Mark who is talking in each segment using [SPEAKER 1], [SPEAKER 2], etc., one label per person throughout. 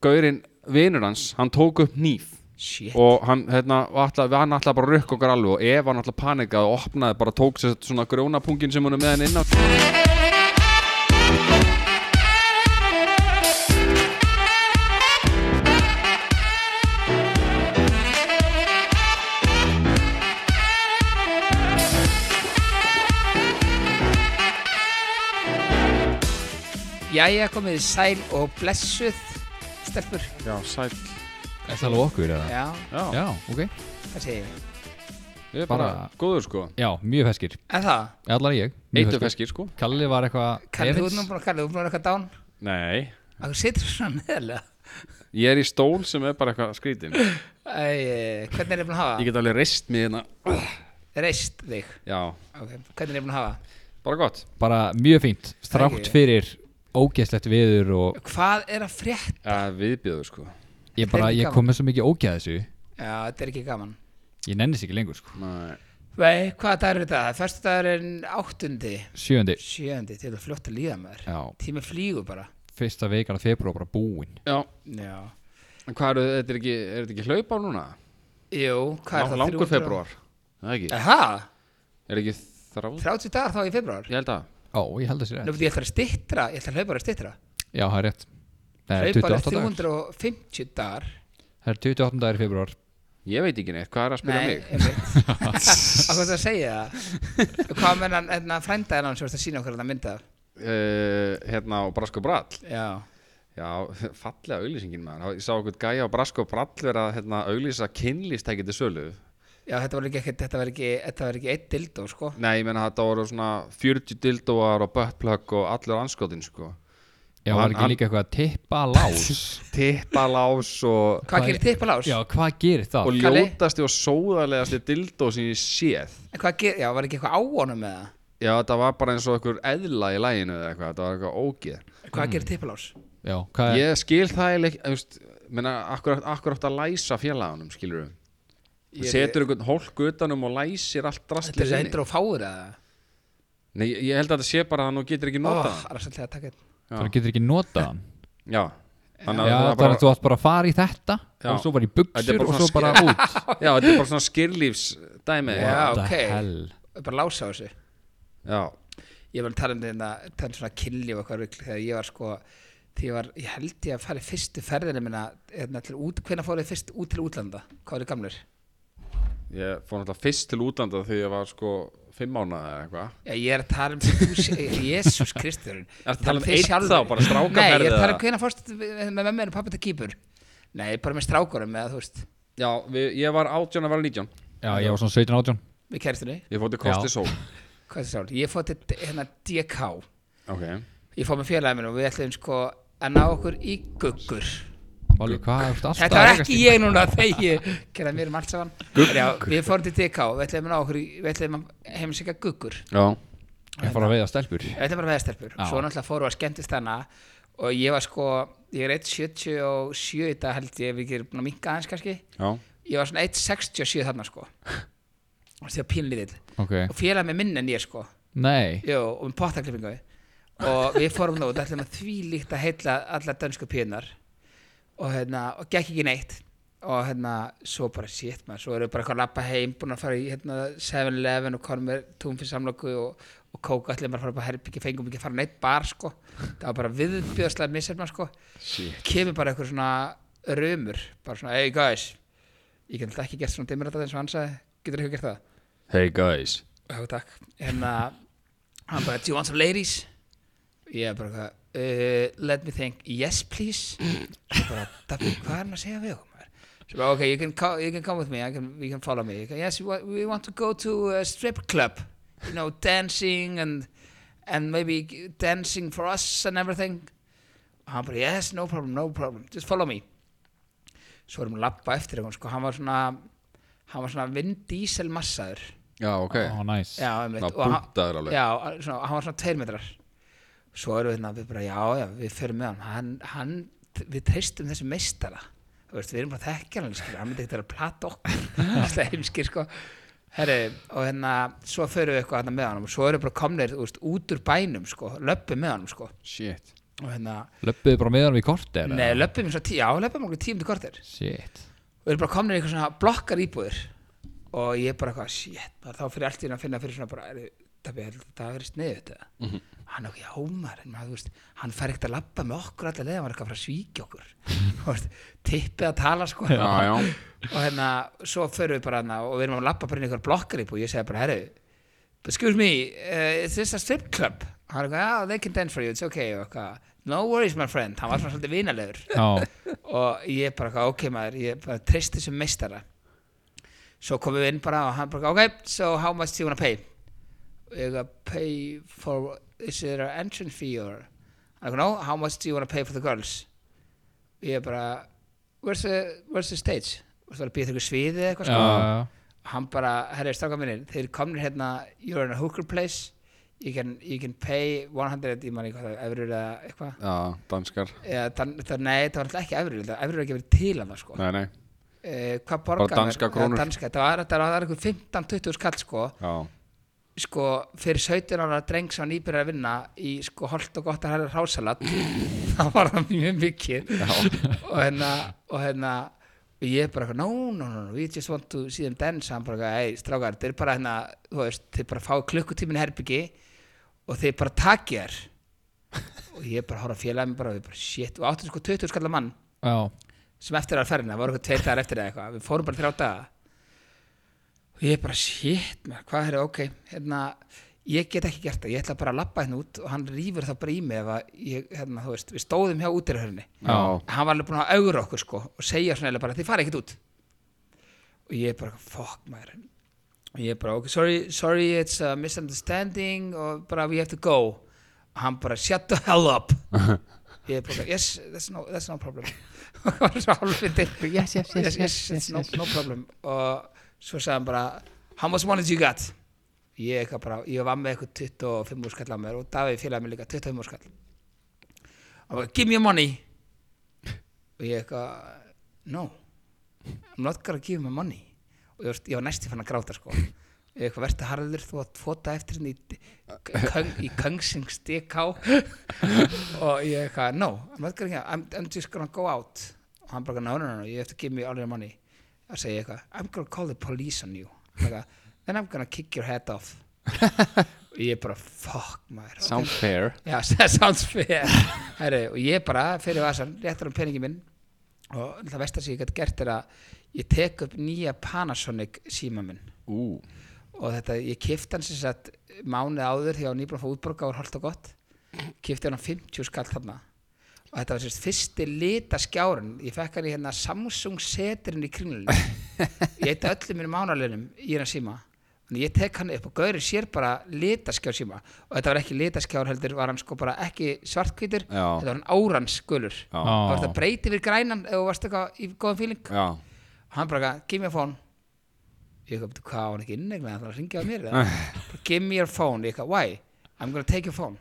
[SPEAKER 1] gaurinn vinur hans, hann tók upp nýf
[SPEAKER 2] Shit.
[SPEAKER 1] og hann, hérna, alltaf, hann alltaf bara rökk okkur alveg og ef hann alltaf panikaði og opnaði bara tók sér svona grjónapungin sem hún er með hann inn á
[SPEAKER 2] Jæja, komið þið sæl og blessuð, stelpur.
[SPEAKER 1] Já, sæl
[SPEAKER 3] Er það alveg okkur eða?
[SPEAKER 2] Já,
[SPEAKER 1] Já,
[SPEAKER 3] Já, ok
[SPEAKER 2] hvað segir ég?
[SPEAKER 1] ég er bara,
[SPEAKER 3] Bara-
[SPEAKER 1] góður sko
[SPEAKER 3] Já, mjög feskir
[SPEAKER 2] En það,
[SPEAKER 3] Allar ég mjög
[SPEAKER 1] Eitt af
[SPEAKER 3] feskur.
[SPEAKER 1] feskir sko
[SPEAKER 3] Kalli var eitthvað
[SPEAKER 2] Kalli, þú
[SPEAKER 3] efins.
[SPEAKER 2] ert nú búin að Kalli, þú ert búin að eitthvað dán.
[SPEAKER 1] Nei,
[SPEAKER 2] Akkur situr svona neðarlega.
[SPEAKER 1] ég er í stól sem er bara eitthvað skrítin Ég
[SPEAKER 2] Æ, hvernig er ég búin að hafa?
[SPEAKER 1] get alveg reist mig hérna
[SPEAKER 2] Reist þig.
[SPEAKER 1] Já,
[SPEAKER 2] Ok, hvernig er ég búin að hafa?
[SPEAKER 1] bara gott
[SPEAKER 3] Bara mjög fínt Strátt
[SPEAKER 2] Takk.
[SPEAKER 3] fyrir ógeðslegt viður og
[SPEAKER 2] Hvað er að frétt?
[SPEAKER 1] Já, viðbjöður sko
[SPEAKER 3] ég bara,
[SPEAKER 2] Hvernig
[SPEAKER 3] ég
[SPEAKER 2] gaman?
[SPEAKER 3] kom með svo mikið ógeð þessu
[SPEAKER 2] Já, þetta er ekki gaman.
[SPEAKER 3] Ég nenni sér ekki lengur sko
[SPEAKER 1] Nei,
[SPEAKER 2] Vei, hvaða dagur er þetta? Fyrstu dagur er áttundi,
[SPEAKER 3] Sjöndi,
[SPEAKER 2] sjöndi, til að fljótt að líða maður.
[SPEAKER 3] já,
[SPEAKER 2] Tími flýgur bara.
[SPEAKER 3] fyrsta veikana februar bara búin
[SPEAKER 1] já,
[SPEAKER 2] Já.
[SPEAKER 1] en hvað eru, þetta er ekki, er þetta ekki hlaup á núna?
[SPEAKER 2] Jú, hvað er það?
[SPEAKER 1] Langur
[SPEAKER 2] 300?
[SPEAKER 1] februar Það er ekki,
[SPEAKER 2] Aha,
[SPEAKER 1] er ekki þráð?
[SPEAKER 2] 30 dagar þá í februar.
[SPEAKER 1] Ég held að
[SPEAKER 3] Ó, ég held að sér
[SPEAKER 2] Nú
[SPEAKER 3] rétt
[SPEAKER 2] veit ég ætla að stittra, ég ætla að hlaupa að stittra
[SPEAKER 3] Já, það er rétt Það er
[SPEAKER 2] Hlaupa er
[SPEAKER 3] 28 dagar
[SPEAKER 2] 350 dagar
[SPEAKER 3] Það er 28 dagar í februar
[SPEAKER 1] Ég veit ekki neitt, hvað er að spyrja mig?
[SPEAKER 2] einmitt Akkur það að segja það Hvað menn hann, hérna frænda er hann sem vorst að sína okkur hérna hann að mynda
[SPEAKER 1] Uh, hérna á Brasko Brall
[SPEAKER 2] Já
[SPEAKER 1] Já, fallega auglýsingin maður Ég sá einhvern gæja á Brasko Brall vera að hérna, auglýsa kynlýstæki til sölu
[SPEAKER 2] Já, þetta var ekki, ekkert- þetta var ekki, þetta var ekki eitt dildó, sko
[SPEAKER 1] Nei, ég menna þetta voru svona 40 dildóar og buttplug og allur anskotin sko
[SPEAKER 3] Já,
[SPEAKER 1] Og
[SPEAKER 3] var
[SPEAKER 1] hann-
[SPEAKER 3] ekki
[SPEAKER 1] hann-
[SPEAKER 3] líka eitthvað að tippa lás
[SPEAKER 1] Tippalás og,
[SPEAKER 2] Hvað gerir tippa lás?
[SPEAKER 3] Já, hvað gerir það?
[SPEAKER 1] og
[SPEAKER 2] Kalli?
[SPEAKER 1] ljótasti og sóðarlegasti dildó sem ég séð
[SPEAKER 2] En hvað gerir, já, var ekki eitthvað á honum með það?
[SPEAKER 1] Já, þetta var bara eins og einhver eðla í læginu eða eitthvað, þetta var eitthvað ógeð
[SPEAKER 2] Hvað gerir tippa lás?
[SPEAKER 3] Já, hvað er
[SPEAKER 1] Ég skil það eiginlega ekki, þú veist, menna, akkur, akkur átt að læsa félagunum, skilur við
[SPEAKER 2] Ég-
[SPEAKER 1] Setur einhvern hólk utanum og læsir allt
[SPEAKER 2] Þetta er
[SPEAKER 1] drastlið
[SPEAKER 2] svo
[SPEAKER 1] inni
[SPEAKER 2] hendur og fáir að það
[SPEAKER 1] Nei, ég ég held að þetta sé bara að hann og getur ekki nota
[SPEAKER 2] Það Ah, er svolítið að taka einn.
[SPEAKER 3] Það getur ekki notað hann
[SPEAKER 1] Já, þannig að það
[SPEAKER 3] Já, það er
[SPEAKER 1] var bara,
[SPEAKER 3] að þú átt bara að fara í þetta
[SPEAKER 1] Já.
[SPEAKER 3] og svo bara í
[SPEAKER 1] Þetta er bara
[SPEAKER 3] buksur og
[SPEAKER 1] svona
[SPEAKER 3] svo bara út
[SPEAKER 1] já, þetta er bara svona skirlífsdæmi
[SPEAKER 2] Já,
[SPEAKER 3] What the
[SPEAKER 2] ok.
[SPEAKER 3] hell?
[SPEAKER 2] Bara lása á þessu
[SPEAKER 1] já,
[SPEAKER 2] ég var að tala um þetta tala um svona kynli og eitthvað rugl þegar ég var sko því ég var, ég held ég að fara í fyrstu ferðina minna, hérna til út, hvenær fóruð þið fyrst út til útlanda, hvað eru gamlir?
[SPEAKER 1] ég fór náttúrulega fyrst til útlanda því ég var sko fimm mánuði eða eitthvað
[SPEAKER 2] Já, ég er að tala um sem þú, sé- Jesús Kristurinn
[SPEAKER 1] Ertu að
[SPEAKER 2] Ég
[SPEAKER 1] tala um
[SPEAKER 2] þig
[SPEAKER 1] einn
[SPEAKER 2] sjálfur.
[SPEAKER 1] þá, bara strákaferð
[SPEAKER 2] Nei, ég er að tala
[SPEAKER 1] eða?
[SPEAKER 2] um hvenær fórst með mömmu og pappa til kýpur Nei, bara með strákurum eða þú veist,
[SPEAKER 1] Já, við, ég var átján að vera nítján
[SPEAKER 3] Já, ég var svona 17 átjón
[SPEAKER 2] með kæristunni
[SPEAKER 1] Ég fór til
[SPEAKER 3] Já.
[SPEAKER 1] Kosti Sól
[SPEAKER 2] Hvað er það sjálf? Ég fór til hérna DK
[SPEAKER 1] Ok
[SPEAKER 2] Ég fór með félagið minn og við ætlum sko að ná okkur í guggur
[SPEAKER 3] Valur, hvað er alltaf
[SPEAKER 2] Þetta var
[SPEAKER 3] að
[SPEAKER 2] ekki
[SPEAKER 3] rekast í?
[SPEAKER 2] ég núna þegar ég Gerða mér um allt saman En já, Við fórum til DK og við ætlum að ná okkur í- Við ætlum að heimsækja guggur
[SPEAKER 1] Já
[SPEAKER 3] Ég fór að veiða stelpur
[SPEAKER 2] Við ætlum bara veðastelpur
[SPEAKER 3] Já.
[SPEAKER 2] Svo náttúrulega fórum við að skemmtist hana Og ég var sko Ég er 1.77 í dag held ég Við gerum búin að minka aðeins kannski
[SPEAKER 1] Já
[SPEAKER 2] Ég var svona 1.67 þarna sko Og því að pínlítill
[SPEAKER 3] Ok
[SPEAKER 2] Og félag með minn en ég sko
[SPEAKER 3] Nei
[SPEAKER 2] Jó, og með pottaklippingu og við fórum það út, ætlum að því líkt að heilla allar dönsku píðnar og hérna, og gekk ekki neitt og hérna, svo bara shit maður svo erum við bara eitthvað að lappa heim, búin að fara í hérna 7-Eleven og konum með túnfinnsamlöku og, og kóka, ætlum bara að fara upp að herbyggi fengum ekki að fara neitt bar, sko það var bara viðbjöðslega misefna, sko
[SPEAKER 1] Shit.
[SPEAKER 2] kemur bara eitthvað svona rumur, bara svona, hey guys ég get alltaf ekki gert svona dimur eins og hann sagði, getur ekki gert það
[SPEAKER 1] Hey guys
[SPEAKER 2] Já, takk Hérna, hann bara, do you want some ladies? Ég er bara, eitthvað, uh, let me think, yes please Svo bara, Dabbi, hvað er hann að segja við okkur? maður? Svo bara, ok, you can, co you can come with me, I can, you can follow me You can, Yes, we wa- we want to go to a strip club You know, dancing and, and maybe dancing for us and everything Og hann bara, yes, no problem, no problem, just follow me Svo erum við að labba eftir eitthvað, sko, hann var svona, hann var svona vindísel massaður
[SPEAKER 1] Já, ok
[SPEAKER 3] Ó, næs
[SPEAKER 2] Já, einmitt
[SPEAKER 1] Ná,
[SPEAKER 2] Og hann-
[SPEAKER 1] búntaður alveg.
[SPEAKER 2] Já, svona, hann var svona tveir metrar Svo erum við hérna, við bara, já, já, við förum með hann Hann, hann við treystum þessu meistara Þú veist, við erum bara að þekkja hann skilur, Hann myndi ekkert vera að plata okkur Það heimskir, sko Herri, og hérna, svo förum við eitthvað hérna með hann og svo erum við bara komnir, þú veist, út úr bænum, sko, löppum með hann, sko
[SPEAKER 1] Shit
[SPEAKER 2] og hérna,
[SPEAKER 3] Löppuðu bara meðanum í kort eða?
[SPEAKER 2] nei, löpum eins og tíu, já, löpum okkur tíum til kortir
[SPEAKER 3] Shit
[SPEAKER 2] og eru bara komnir í eitthvað svona blokkar íbúðir og ég er bara eitthvað, shit maður, þá fyrir allt í einu að finna fyrir svona bara er, það verið sniðu þetta mm
[SPEAKER 1] Mhm.
[SPEAKER 2] -hmm. hann okkur, já maður, en maður, þú veist hann fær ekkert að labba með okkur allir leið hann var eitthvað að fara að svíkja okkur Þú veist, tippið að tala sko
[SPEAKER 1] Já, já,
[SPEAKER 2] og hérna, svo förum við bara hana, og við erum að lappa bara inn í einhver blokkar íbúð og ég segi bara, herru, excuse me uh, is this a strip club? og hann er eitthvað, já, they can dance for you, it's okay og eitthvað, no worries my friend, hann var svona svolítið vinalegur
[SPEAKER 3] Já,
[SPEAKER 2] og ég bara, eitthvað, ok maður, ég bara treysti þessum meistara svo komum við inn bara og hann bara, ok, so how much do you wanna pay? og ég að pay for, is there an entrance fee or I don't know, how much do you wanna pay for the girls? ég bara, where's the, where's the stage? og svo var að býja þér ykkur sviði eða eitthvað
[SPEAKER 3] já,
[SPEAKER 2] sko
[SPEAKER 3] já
[SPEAKER 2] hann bara, herri, stráka mínir þeir komnir hérna, you're in a hooker place you can, you can pay 100, ég man ekki hvað það, efrur eða eitthvað
[SPEAKER 1] já, danskar
[SPEAKER 2] eða, dan, það, nei, það var alltaf ekki efrur það efrur er ekki verið til hann sko
[SPEAKER 1] Nei, nei,
[SPEAKER 2] Eh, hvað borgar
[SPEAKER 1] danska krónur.
[SPEAKER 2] danska, það var, það var, það var eitthvað 15-20 skall sko,
[SPEAKER 1] já,
[SPEAKER 2] sko fyrir 17 ára dreng sem nýbyrjar að vinna í sko holt og gott að hæra rásalat það var það mjög mikið og hérna og hérna og ég bara, eitthvað, no, no, no, no, we just want to see them dance hann bara, eitthvað, ei, strákar, þeir bara hérna þú veist, þeir bara fá klukkutímin herbyggi og þeir bara taki þér og ég bara horf að félaga mig bara, og ég bara, shit, og áttu sko 20 skalla mann
[SPEAKER 3] Já,
[SPEAKER 2] sem eftir var ferðina, voru eitthvað tveir dagar eftir eða eitthvað, við fórum bara þrjá daga og ég bara, shit maður, hvað er það, ok, hérna ég get ekki gert það, ég ætla bara að labba hérna út og hann rýfur þá bara í mig ef að ég, hérna, þú veist, við stóðum hjá útirhörni
[SPEAKER 1] já,
[SPEAKER 2] hann var alveg búinn að augra okkur sko og segja svona eða bara, þið fara ekkert út og ég bara, fuck maður og ég bara, ok, sorry, sorry it's a misunderstanding og bara, we have to go og hann bara, shut the hell up ég bara, yes, that's no, that's no problem og hann var svo alveg til yes, yes, yes, yes, it's no, no problem og svo sagði hann bara how much money do you got ég, eitthvað bara, ég var með eitthvað 25 úrskall á mér og Davíð félagði mér líka 25 úrskall hann bara, give me your money og ég eitthvað no, I'm not gonna give me money og ég var, ég var næstu fann að gráta sko ég eitthvað verður harður þú að fóta eftir henni hérna í, köng, í köngsing stikká og ég eitthvað no, I'm not gonna give I'm, I'm just gonna go out og hann bara no, no, no, you have to give me all your money og segi ég eitthvað, I'm gonna call the police on you eitthvað, then I'm gonna kick your head off og ég bara fuck maður ok,
[SPEAKER 1] sound fair
[SPEAKER 2] Já, that sounds fair Herri, og ég bara fyrir vasan, réttar um peningi minn og það vestar sem ég gæti gert er að ég tek upp nýja Panasonic síma minn
[SPEAKER 1] Ú,
[SPEAKER 2] og þetta, ég kifti hann sem sagt mánuð áður því að nýbúin að fá útborga og holdt og gott kifti hann á 50 skall þarna og þetta var sérst fyrsti lita skjárun ég fekk hann í hérna Samsung seturinn í kringlunum ég eitt öllum mínum mánalinum í hérna síma þannig ég tek hann upp og gaurið sér bara litaskjár síma og þetta var ekki litaskjár heldur var hann sko bara ekki svartkvítur
[SPEAKER 1] Já.
[SPEAKER 2] þetta var hann árans gulur
[SPEAKER 1] Já.
[SPEAKER 2] það var þetta breyti við grænan ef þú varst eitthvað í góðum fíling
[SPEAKER 1] já,
[SPEAKER 2] hann bara, eitthvað, give me your phone ég kom, hvað á hann ekki innegna þannig að ringja á mér eða?" Bara, give me your phone, ég kom, why I'm gonna take your phone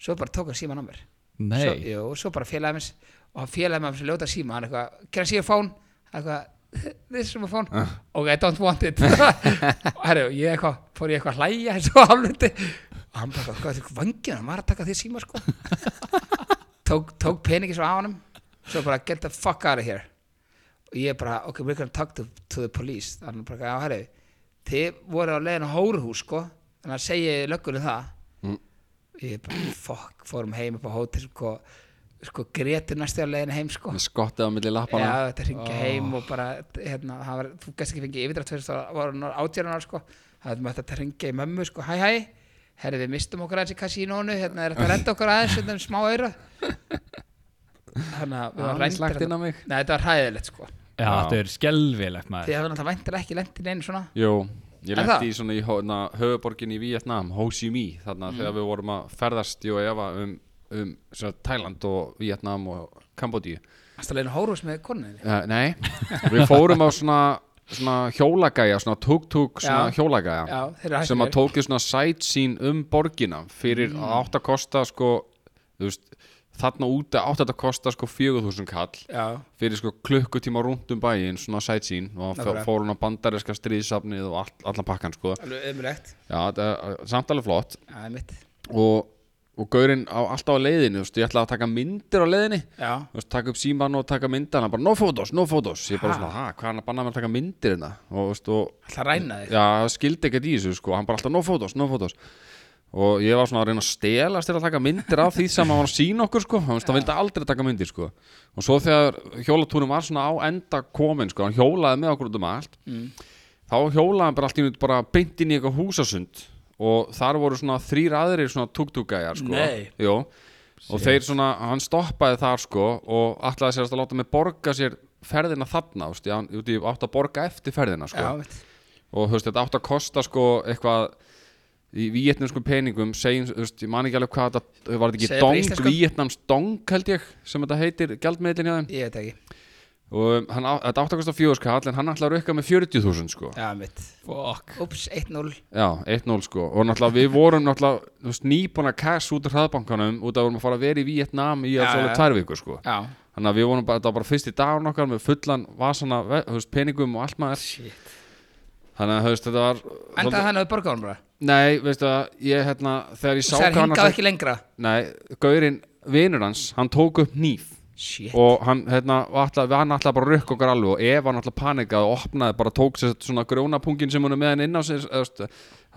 [SPEAKER 2] svo bara tók hann síman á mér svo,
[SPEAKER 3] nei
[SPEAKER 2] jú, svo bara félagið minns og hann félagið með hans ljóta síma hann eitthvað, can I see your phone? Hann eitthvað, this is my phone ok, I don't want it og herru, ég eitthvað, fór ég eitthvað að hlæja eins og afluti og hann bara, hvað er þetta vangin hann var að taka því síma sko tók, tók peningi svo á hann svo bara, get the fuck out of here og ég bara, ok, we're gonna talk to, to the police þannig bara, já, herru þið voru á leiðin á Hóruhús sko þannig að segja löggunni það
[SPEAKER 1] Mm.
[SPEAKER 2] ég bara, fokk, fórum heim upp á hótel sko, sko grétu næstu á leiðin heim sko
[SPEAKER 1] með skottið á milli lappana
[SPEAKER 2] Já, þetta hringi heim og bara hérna, það var, þú gæst ekki fengið yfirdrætt fyrir það var hún átjörnar sko það var þetta hringi í mömmu sko, hæ hæ herri við mistum okkur aðeins í kasínónu hérna er þetta að renda okkur aðeins hérna um smá auðra þannig að
[SPEAKER 1] Já,
[SPEAKER 2] við varum
[SPEAKER 1] hann
[SPEAKER 2] rændir
[SPEAKER 1] slakt inn á
[SPEAKER 2] þarna.
[SPEAKER 1] mig.
[SPEAKER 2] Nei, þetta var hræðilegt sko
[SPEAKER 3] Já, þetta er skelvilegt maður
[SPEAKER 2] því það var náttúrulega væntir ekki lendin einu svona
[SPEAKER 1] Jú, ég
[SPEAKER 2] Er
[SPEAKER 1] lendi
[SPEAKER 2] það?
[SPEAKER 1] í svona í hó- na, höfuborgin í Vietnam, Ho Chi Minh
[SPEAKER 2] Mm.
[SPEAKER 1] þarna þegar við vorum að ferðast jú, efa, um, um svona, Thailand og Vietnam og Kambodíu
[SPEAKER 2] Það leiðin hórus með konuðinni
[SPEAKER 1] uh, Nei, við fórum á svona, svona hjólagæja, svona tuk-tuk svona
[SPEAKER 2] Já.
[SPEAKER 1] hjólagæja
[SPEAKER 2] Já, þeir eru
[SPEAKER 1] sem að
[SPEAKER 2] hættir.
[SPEAKER 1] tókið svona sightseen um borgina fyrir
[SPEAKER 2] Mm.
[SPEAKER 1] að átt að kosta sko, þú veist, þarna úti átt að kosta sko 4000 kall
[SPEAKER 2] Já,
[SPEAKER 1] fyrir sko klukkutíma rúnt um bæinn svona sightseen og
[SPEAKER 2] Nákvæmlega.
[SPEAKER 1] fór hún á bandarinska stríðsafnið og all, allan pakkan sko
[SPEAKER 2] alveg ömulegt
[SPEAKER 1] eh, Já, þetta er uh, samt alveg flott
[SPEAKER 2] Já, mitt
[SPEAKER 1] og og gaurinn á, alltaf á leiðinu, þú veist, ég ætla að taka myndir á leiðinni
[SPEAKER 2] já,
[SPEAKER 1] þú veist, taka upp síman og taka myndir hann bara, no photos, no photos ég bara
[SPEAKER 2] Ha?
[SPEAKER 1] svona, ha, hvað hann að banna mér að taka myndir hérna og, þú veist, og
[SPEAKER 2] alltaf ræna þig
[SPEAKER 1] já, það skildi ekkert í þessu, sko hann bara alltaf, no photos, no photos og ég var svona að reyna að stelast til að taka myndir af því sem hann var að sína okkur, sko hann veist, hann vildi aldrei taka myndir, sko og svo þegar hjólatúrum var svona á enda komin, sko, hann hjólaði með okkur út um allt þá hjólaði hann bara allt í nýtt bara beint inn í eitthvað húsasund og þar voru svona þrýr aðrir svona tuk-tuk-gæjar sko.
[SPEAKER 2] Nei.
[SPEAKER 1] Jó. og þeir svona, hann stoppaði þar sko og ætlaði sér að láta mig borga sér ferðina þarna, þú veist, ég hann- ég ég átti að borga eftir ferðina sko
[SPEAKER 2] já, veit
[SPEAKER 1] og þú veist, þetta átti að kosta sko eitthvað í vietnamskum peningum segjum, þú veist, ég man ekki alveg hvað þetta var þetta
[SPEAKER 2] Segðu
[SPEAKER 1] ekki
[SPEAKER 2] bara
[SPEAKER 1] dong,
[SPEAKER 2] íslensku.
[SPEAKER 1] vietnams dong held ég, sem þetta heitir gjaldmeðlin hjá þeim
[SPEAKER 2] ég veit ekki,
[SPEAKER 1] og um, hann, á- þetta átti að kosta fjóðskall en hann ætlaði að rukka með 40.000 sko
[SPEAKER 2] já, mitt
[SPEAKER 3] Fuck
[SPEAKER 2] ups, 1-0
[SPEAKER 1] Já, 1-0 sko og náttúrulega við vorum náttúrulega þú veist, nýbúin að cash út af hraðbankanum út af að vorum að fara að vera í Vietnam í
[SPEAKER 2] Já,
[SPEAKER 1] að
[SPEAKER 2] já.
[SPEAKER 1] svolítið tvær vikur sko
[SPEAKER 2] já,
[SPEAKER 1] þannig að við vorum bara, þetta var bara fyrsti dagun okkar með fullan vasana, ve- þú veist, peningum og allt maður
[SPEAKER 2] shit
[SPEAKER 1] þannig að þú veist, þetta var
[SPEAKER 2] endaði hann að borga hann bara
[SPEAKER 1] Nei, veistu að ég hérna þegar ég sá
[SPEAKER 2] það er
[SPEAKER 1] hvað hann
[SPEAKER 2] hingað
[SPEAKER 1] að
[SPEAKER 2] ekki lengra
[SPEAKER 1] Nei, Gaurinn, vinur hans, hann tók upp nýf
[SPEAKER 2] shit,
[SPEAKER 1] og hann, hérna, ætla, hann ætlaði bara að rökk okkar alveg og Eva náttúrulega panikaði og opnaði bara tók sér svona grjónapungin sem hún er með hann inn á sér eða, þú veist,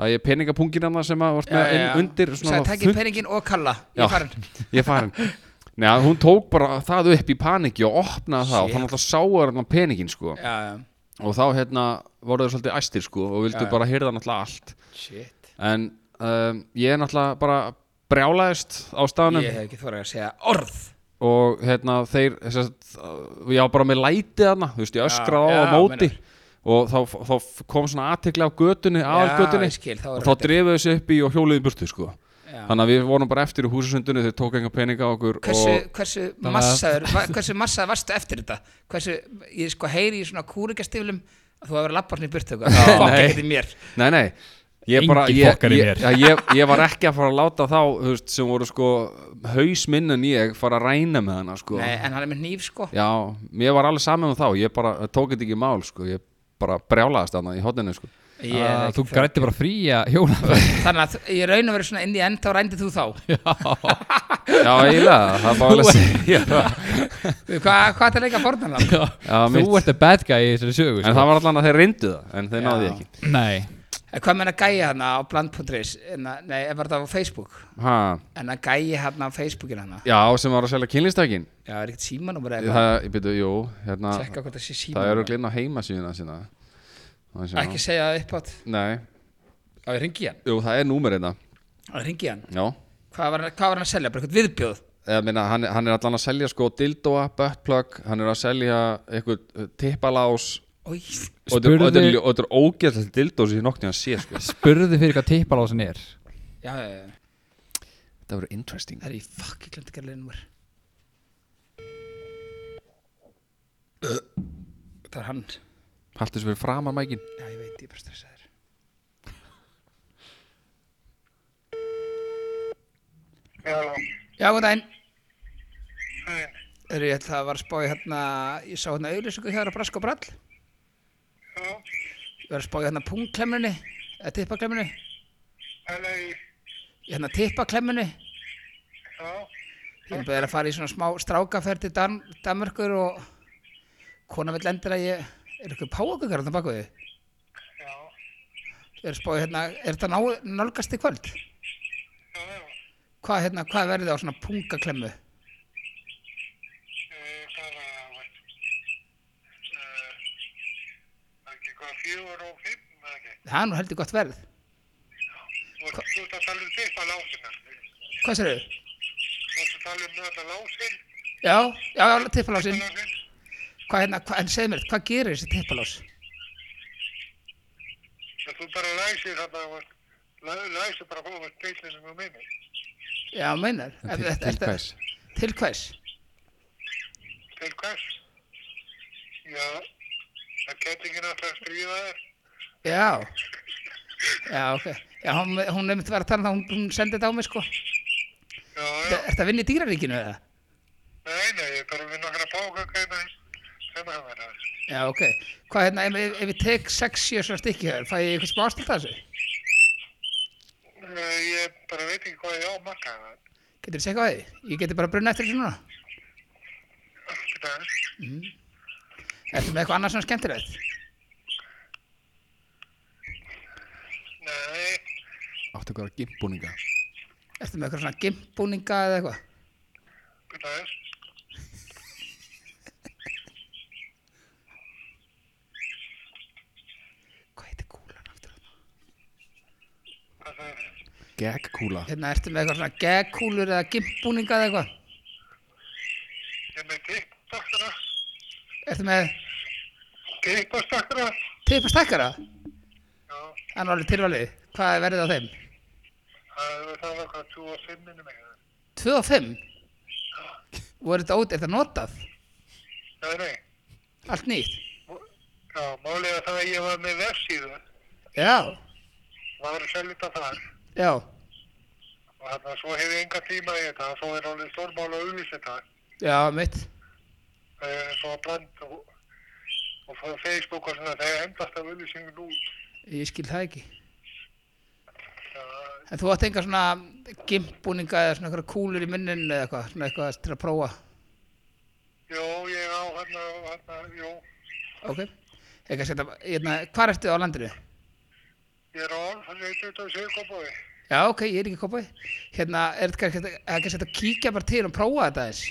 [SPEAKER 1] það er peningapungin hann sem að vart með inn undir svona
[SPEAKER 2] sagði
[SPEAKER 1] þunn-
[SPEAKER 2] takkir peningin og kalla
[SPEAKER 1] Já.
[SPEAKER 2] ég farin,
[SPEAKER 1] ég er farin Nei, að hún tók bara það upp í paniki og opnaði það og
[SPEAKER 2] Shit.
[SPEAKER 1] þannig alltaf sáur hann peningin sko
[SPEAKER 2] já, já
[SPEAKER 1] og þá hérna voru þau svolítið æstir sko og vildu
[SPEAKER 2] Já, já.
[SPEAKER 1] bara hyrða náttúrulega allt
[SPEAKER 2] shit
[SPEAKER 1] en um, ég er náttúrulega bara brjálaðist á staðnum
[SPEAKER 2] ég hef ekki þorað að segja orð
[SPEAKER 1] og hérna þeir sest, ég var bara með lætið þarna þú veist, ég öskraði á
[SPEAKER 2] já,
[SPEAKER 1] á móti og þá, þá kom svona aðtekla á götunni aðalgötunni
[SPEAKER 2] ég skil, þá er
[SPEAKER 1] og þá
[SPEAKER 2] þetta-
[SPEAKER 1] drifuðu þessu upp í og hjóliði burtu sko.
[SPEAKER 2] Já.
[SPEAKER 1] þannig að við vorum bara eftir í húsasundunni þeir tók enga peninga á okkur
[SPEAKER 2] hversu,
[SPEAKER 1] og,
[SPEAKER 2] hversu massaður va- hversu massaður varstu eftir þetta hversu, ég sko heyri í svona kúrikastiflum að þú hefur verið lapparni í burtu eitthvað. fokk
[SPEAKER 1] nei. Sko.
[SPEAKER 2] ekkert í mér
[SPEAKER 1] nei, nei Ég,
[SPEAKER 3] Engin
[SPEAKER 1] bara, ég,
[SPEAKER 3] fokkar í
[SPEAKER 1] ég,
[SPEAKER 3] mér.
[SPEAKER 1] ég, ég var ekki að fara að láta þá þú veist, sem voru sko hausminn en ég fara að ræna með hana sko.
[SPEAKER 2] nei, en hann er með nýf sko
[SPEAKER 1] já, mér var alveg saman um þá ég bara tók þetta ekki í mál sko. ég bara brjálaðist þarna í hotninu sko.
[SPEAKER 2] Ég
[SPEAKER 3] yeah,
[SPEAKER 2] er ekki
[SPEAKER 3] Ah, Þú
[SPEAKER 2] fyrir-
[SPEAKER 3] grætti bara frí að hjóla
[SPEAKER 2] þannig að þú- ég raun að vera svona inn í end þá rændi þú þá
[SPEAKER 1] Já, eiginlega, það var alveg að segja það.
[SPEAKER 2] hvað hva það leika forðan hann
[SPEAKER 1] Já, mitt.
[SPEAKER 3] Þú ert að bad guy í þessari sögu
[SPEAKER 1] En
[SPEAKER 3] sko.
[SPEAKER 1] það var allan að þeir reyndu það, en þeir
[SPEAKER 2] Já.
[SPEAKER 1] náðu því ekki
[SPEAKER 3] Nei
[SPEAKER 2] hvað menna gæja hann á bland.is hérna, nei, ef var það á Facebook
[SPEAKER 1] ha,
[SPEAKER 2] en að gæja hann á Facebookin hann
[SPEAKER 1] Já, sem var að selja kynlistækin
[SPEAKER 2] já, er ekkert símanúmer eða eitthvað
[SPEAKER 1] Það, ég byrju, jú, hérna
[SPEAKER 2] tjekka hvort það sé
[SPEAKER 1] Það eru
[SPEAKER 2] símanúmer
[SPEAKER 1] glinn á heimasíðuna sína Það sjá.
[SPEAKER 2] ekki segja það upp átt
[SPEAKER 1] Nei,
[SPEAKER 2] á ég ringi hann
[SPEAKER 1] jú, það er númer hérna
[SPEAKER 2] á ég ringi hann
[SPEAKER 1] Já,
[SPEAKER 2] hvað var, hann- hvað var hann að selja bara eitthvað viðbjóð
[SPEAKER 1] eða minna, hann, hann er allan að selja sko dildóa, buttplug Hann er að selja eitthvað eh, tippalás
[SPEAKER 2] Oj,
[SPEAKER 1] Og þetta er- og þetta er-
[SPEAKER 3] Spurðu-
[SPEAKER 1] og þetta er ógeðslega dildó sem ég nokkuð að sé sko
[SPEAKER 3] Spurðu fyrir hvað tippalásin er
[SPEAKER 2] já, já, já.
[SPEAKER 1] Þetta verður interesting
[SPEAKER 2] Það er ég fuck, ég glemt að gera leiðnumar. Það er hann.
[SPEAKER 1] Haltu þessu fyrir framar mækin
[SPEAKER 2] Já, ég veit, ég er bara stressaður.
[SPEAKER 4] Já,
[SPEAKER 2] Já, góð daginn.
[SPEAKER 4] hæ,
[SPEAKER 2] Eru ég ætla að var að spá í hérna, ég sá hérna auðlýsingu hjá þér á Brask og Brall.
[SPEAKER 4] já,
[SPEAKER 2] Ég var að spá í hérna pungklemmunni, eða tippaklemminu.
[SPEAKER 4] hann er í,
[SPEAKER 2] Í hérna tippaklemminu.
[SPEAKER 4] já,
[SPEAKER 2] Ég er bara að fara í svona smá strákaferð til Dan Danmörkur og kona vill endur að ég, er ykkur páakökar hérna baku þið?
[SPEAKER 4] já,
[SPEAKER 2] Ég er að spá í hérna, er þetta ná- nálgast í kvöld?
[SPEAKER 4] já, já,
[SPEAKER 2] Hvað hérna, hvað verður það á svona pungaklemmu?
[SPEAKER 4] Eh, bara, veit, eh, ekki hvað, fjögur og fimm, eða ekki,
[SPEAKER 2] Það er nú heldur gott verð.
[SPEAKER 4] þú ert þú ert að tala um tippa lásina,
[SPEAKER 2] Hvað sér þau?
[SPEAKER 4] þú ert að tala um þetta lásin,
[SPEAKER 2] Já, já, já, tippalásin.
[SPEAKER 4] lásin,
[SPEAKER 2] Hvað hérna, hva, en segð mér, hvað gerir þessi tippalás?
[SPEAKER 4] en þú bara læsir þarna, veit, læ- læsir bara fóðum að speilinu með minni,
[SPEAKER 2] Já, meinar. Ef
[SPEAKER 1] Til,
[SPEAKER 2] þetta-
[SPEAKER 1] til
[SPEAKER 2] þetta-
[SPEAKER 1] hvers?
[SPEAKER 2] Til hvers?
[SPEAKER 4] til hvers, já, það kettingin alltaf að stríða þér,
[SPEAKER 2] Já. Já, ok. Já, hún, hún nefnt var að tala um það, hún, hún sendi þetta á mig, sko.
[SPEAKER 4] já, já,
[SPEAKER 2] Er þetta að vinna í dýraríkinu eða?
[SPEAKER 4] nei, nei, ég er bara við nokkra pákaka hérna, sem að vera,
[SPEAKER 2] Já, ok. Hvað hérna, ef, ef, ef ég tek 6-7 svona stykki hér, fæ ég eitthvað smá ástilt að þessu?
[SPEAKER 4] Nei, ég bara veit ekki hvað ég á að marka það.
[SPEAKER 2] Getur þið sekkað því? Ég geti bara brunna eftir þessu núna.
[SPEAKER 4] Allt í dag.
[SPEAKER 2] Ertu með eitthvað annars svona skemmtilegt?
[SPEAKER 4] Nei,
[SPEAKER 1] Áttu eitthvað gimbúninga
[SPEAKER 2] Ertu með eitthvað svona gimpbúninga eða eitthvað?
[SPEAKER 4] hvað það er?
[SPEAKER 2] Hvað heitir kúlan aftur? þarna?
[SPEAKER 4] Hvað það er?
[SPEAKER 1] Gekkúla
[SPEAKER 2] Hérna, ertu með eitthvað svona gegkúlur eða gimpbúninga eða eitthvað?
[SPEAKER 4] Ég er með kickboxara.
[SPEAKER 2] Ertu með
[SPEAKER 4] Kickboxara.
[SPEAKER 2] tippastækkara?
[SPEAKER 4] Já,
[SPEAKER 2] Það er alveg tilvalið. Hvað er verðið á þeim?
[SPEAKER 4] það er það okkar 25 minnum eitthvað.
[SPEAKER 2] 2 og 5? Voru þetta út, er þetta notað?
[SPEAKER 4] Nei, nei.
[SPEAKER 2] Allt nýtt?
[SPEAKER 4] Mó- Já, málið er það að ég var með vefsíðu.
[SPEAKER 2] Já,
[SPEAKER 4] Var að selja þetta þar.
[SPEAKER 2] já,
[SPEAKER 4] Og þannig að svo hef ég enga tíma í þetta. Svo er alveg stórmál að auðvisa þetta.
[SPEAKER 2] já, mitt.
[SPEAKER 4] Eh, Svo að brand og, og frá Facebook og svona. Það er endast af auðvisingun út.
[SPEAKER 2] Ég skil það ekki.
[SPEAKER 4] Það
[SPEAKER 2] En þú átt enga svona gimpbúninga eða svona eitthvað kúlur í munnin eða eitthvað, svona eitthvað til að prófa.
[SPEAKER 4] Jó, ég á hérna, hérna, jó,
[SPEAKER 2] Ok. Eitthvað setja, hérna, hvar ertu á landinu?
[SPEAKER 4] ég er á alfansi 27 kompói.
[SPEAKER 2] Já, ok, ég er ekki kopað. Hérna, er þetta kannski- er kannski hægt að kíkja bara til og prófa þetta eins?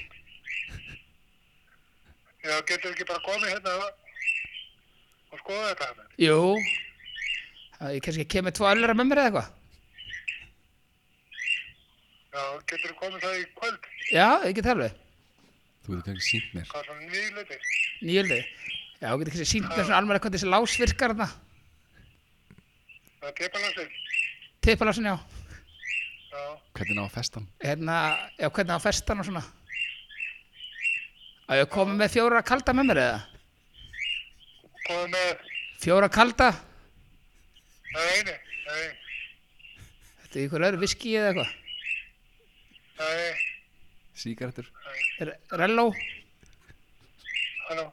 [SPEAKER 4] Já, getur ekki bara komið hérna og skoða þetta hérna.
[SPEAKER 2] Jú. Það, ég kannski kemur tvo öllera með mér eða eitthvað.
[SPEAKER 4] Já, getur komið það í kvöld,
[SPEAKER 2] Já, ég get alveg.
[SPEAKER 1] Þú veitur kannski sínt mér
[SPEAKER 4] hvað svona nýliti.
[SPEAKER 2] Nýjöldi. Já, þú getur kannski sínt mér svona almenna hvernig þessi lás virkar þarna.
[SPEAKER 4] Það er tepalansinn.
[SPEAKER 2] Tippalásin, já.
[SPEAKER 4] Já,
[SPEAKER 1] Hvernig ná að festan?
[SPEAKER 2] hérna, já, hvernig á festan og svona að ég komið með fjóra kalda með mér eða
[SPEAKER 4] komið með,
[SPEAKER 2] fjóra kalda,
[SPEAKER 4] það er einu, það er,
[SPEAKER 2] þetta er ykkur öðru viski eða eitthvað,
[SPEAKER 4] það er,
[SPEAKER 1] Sígarettur
[SPEAKER 2] R- relló
[SPEAKER 4] halló,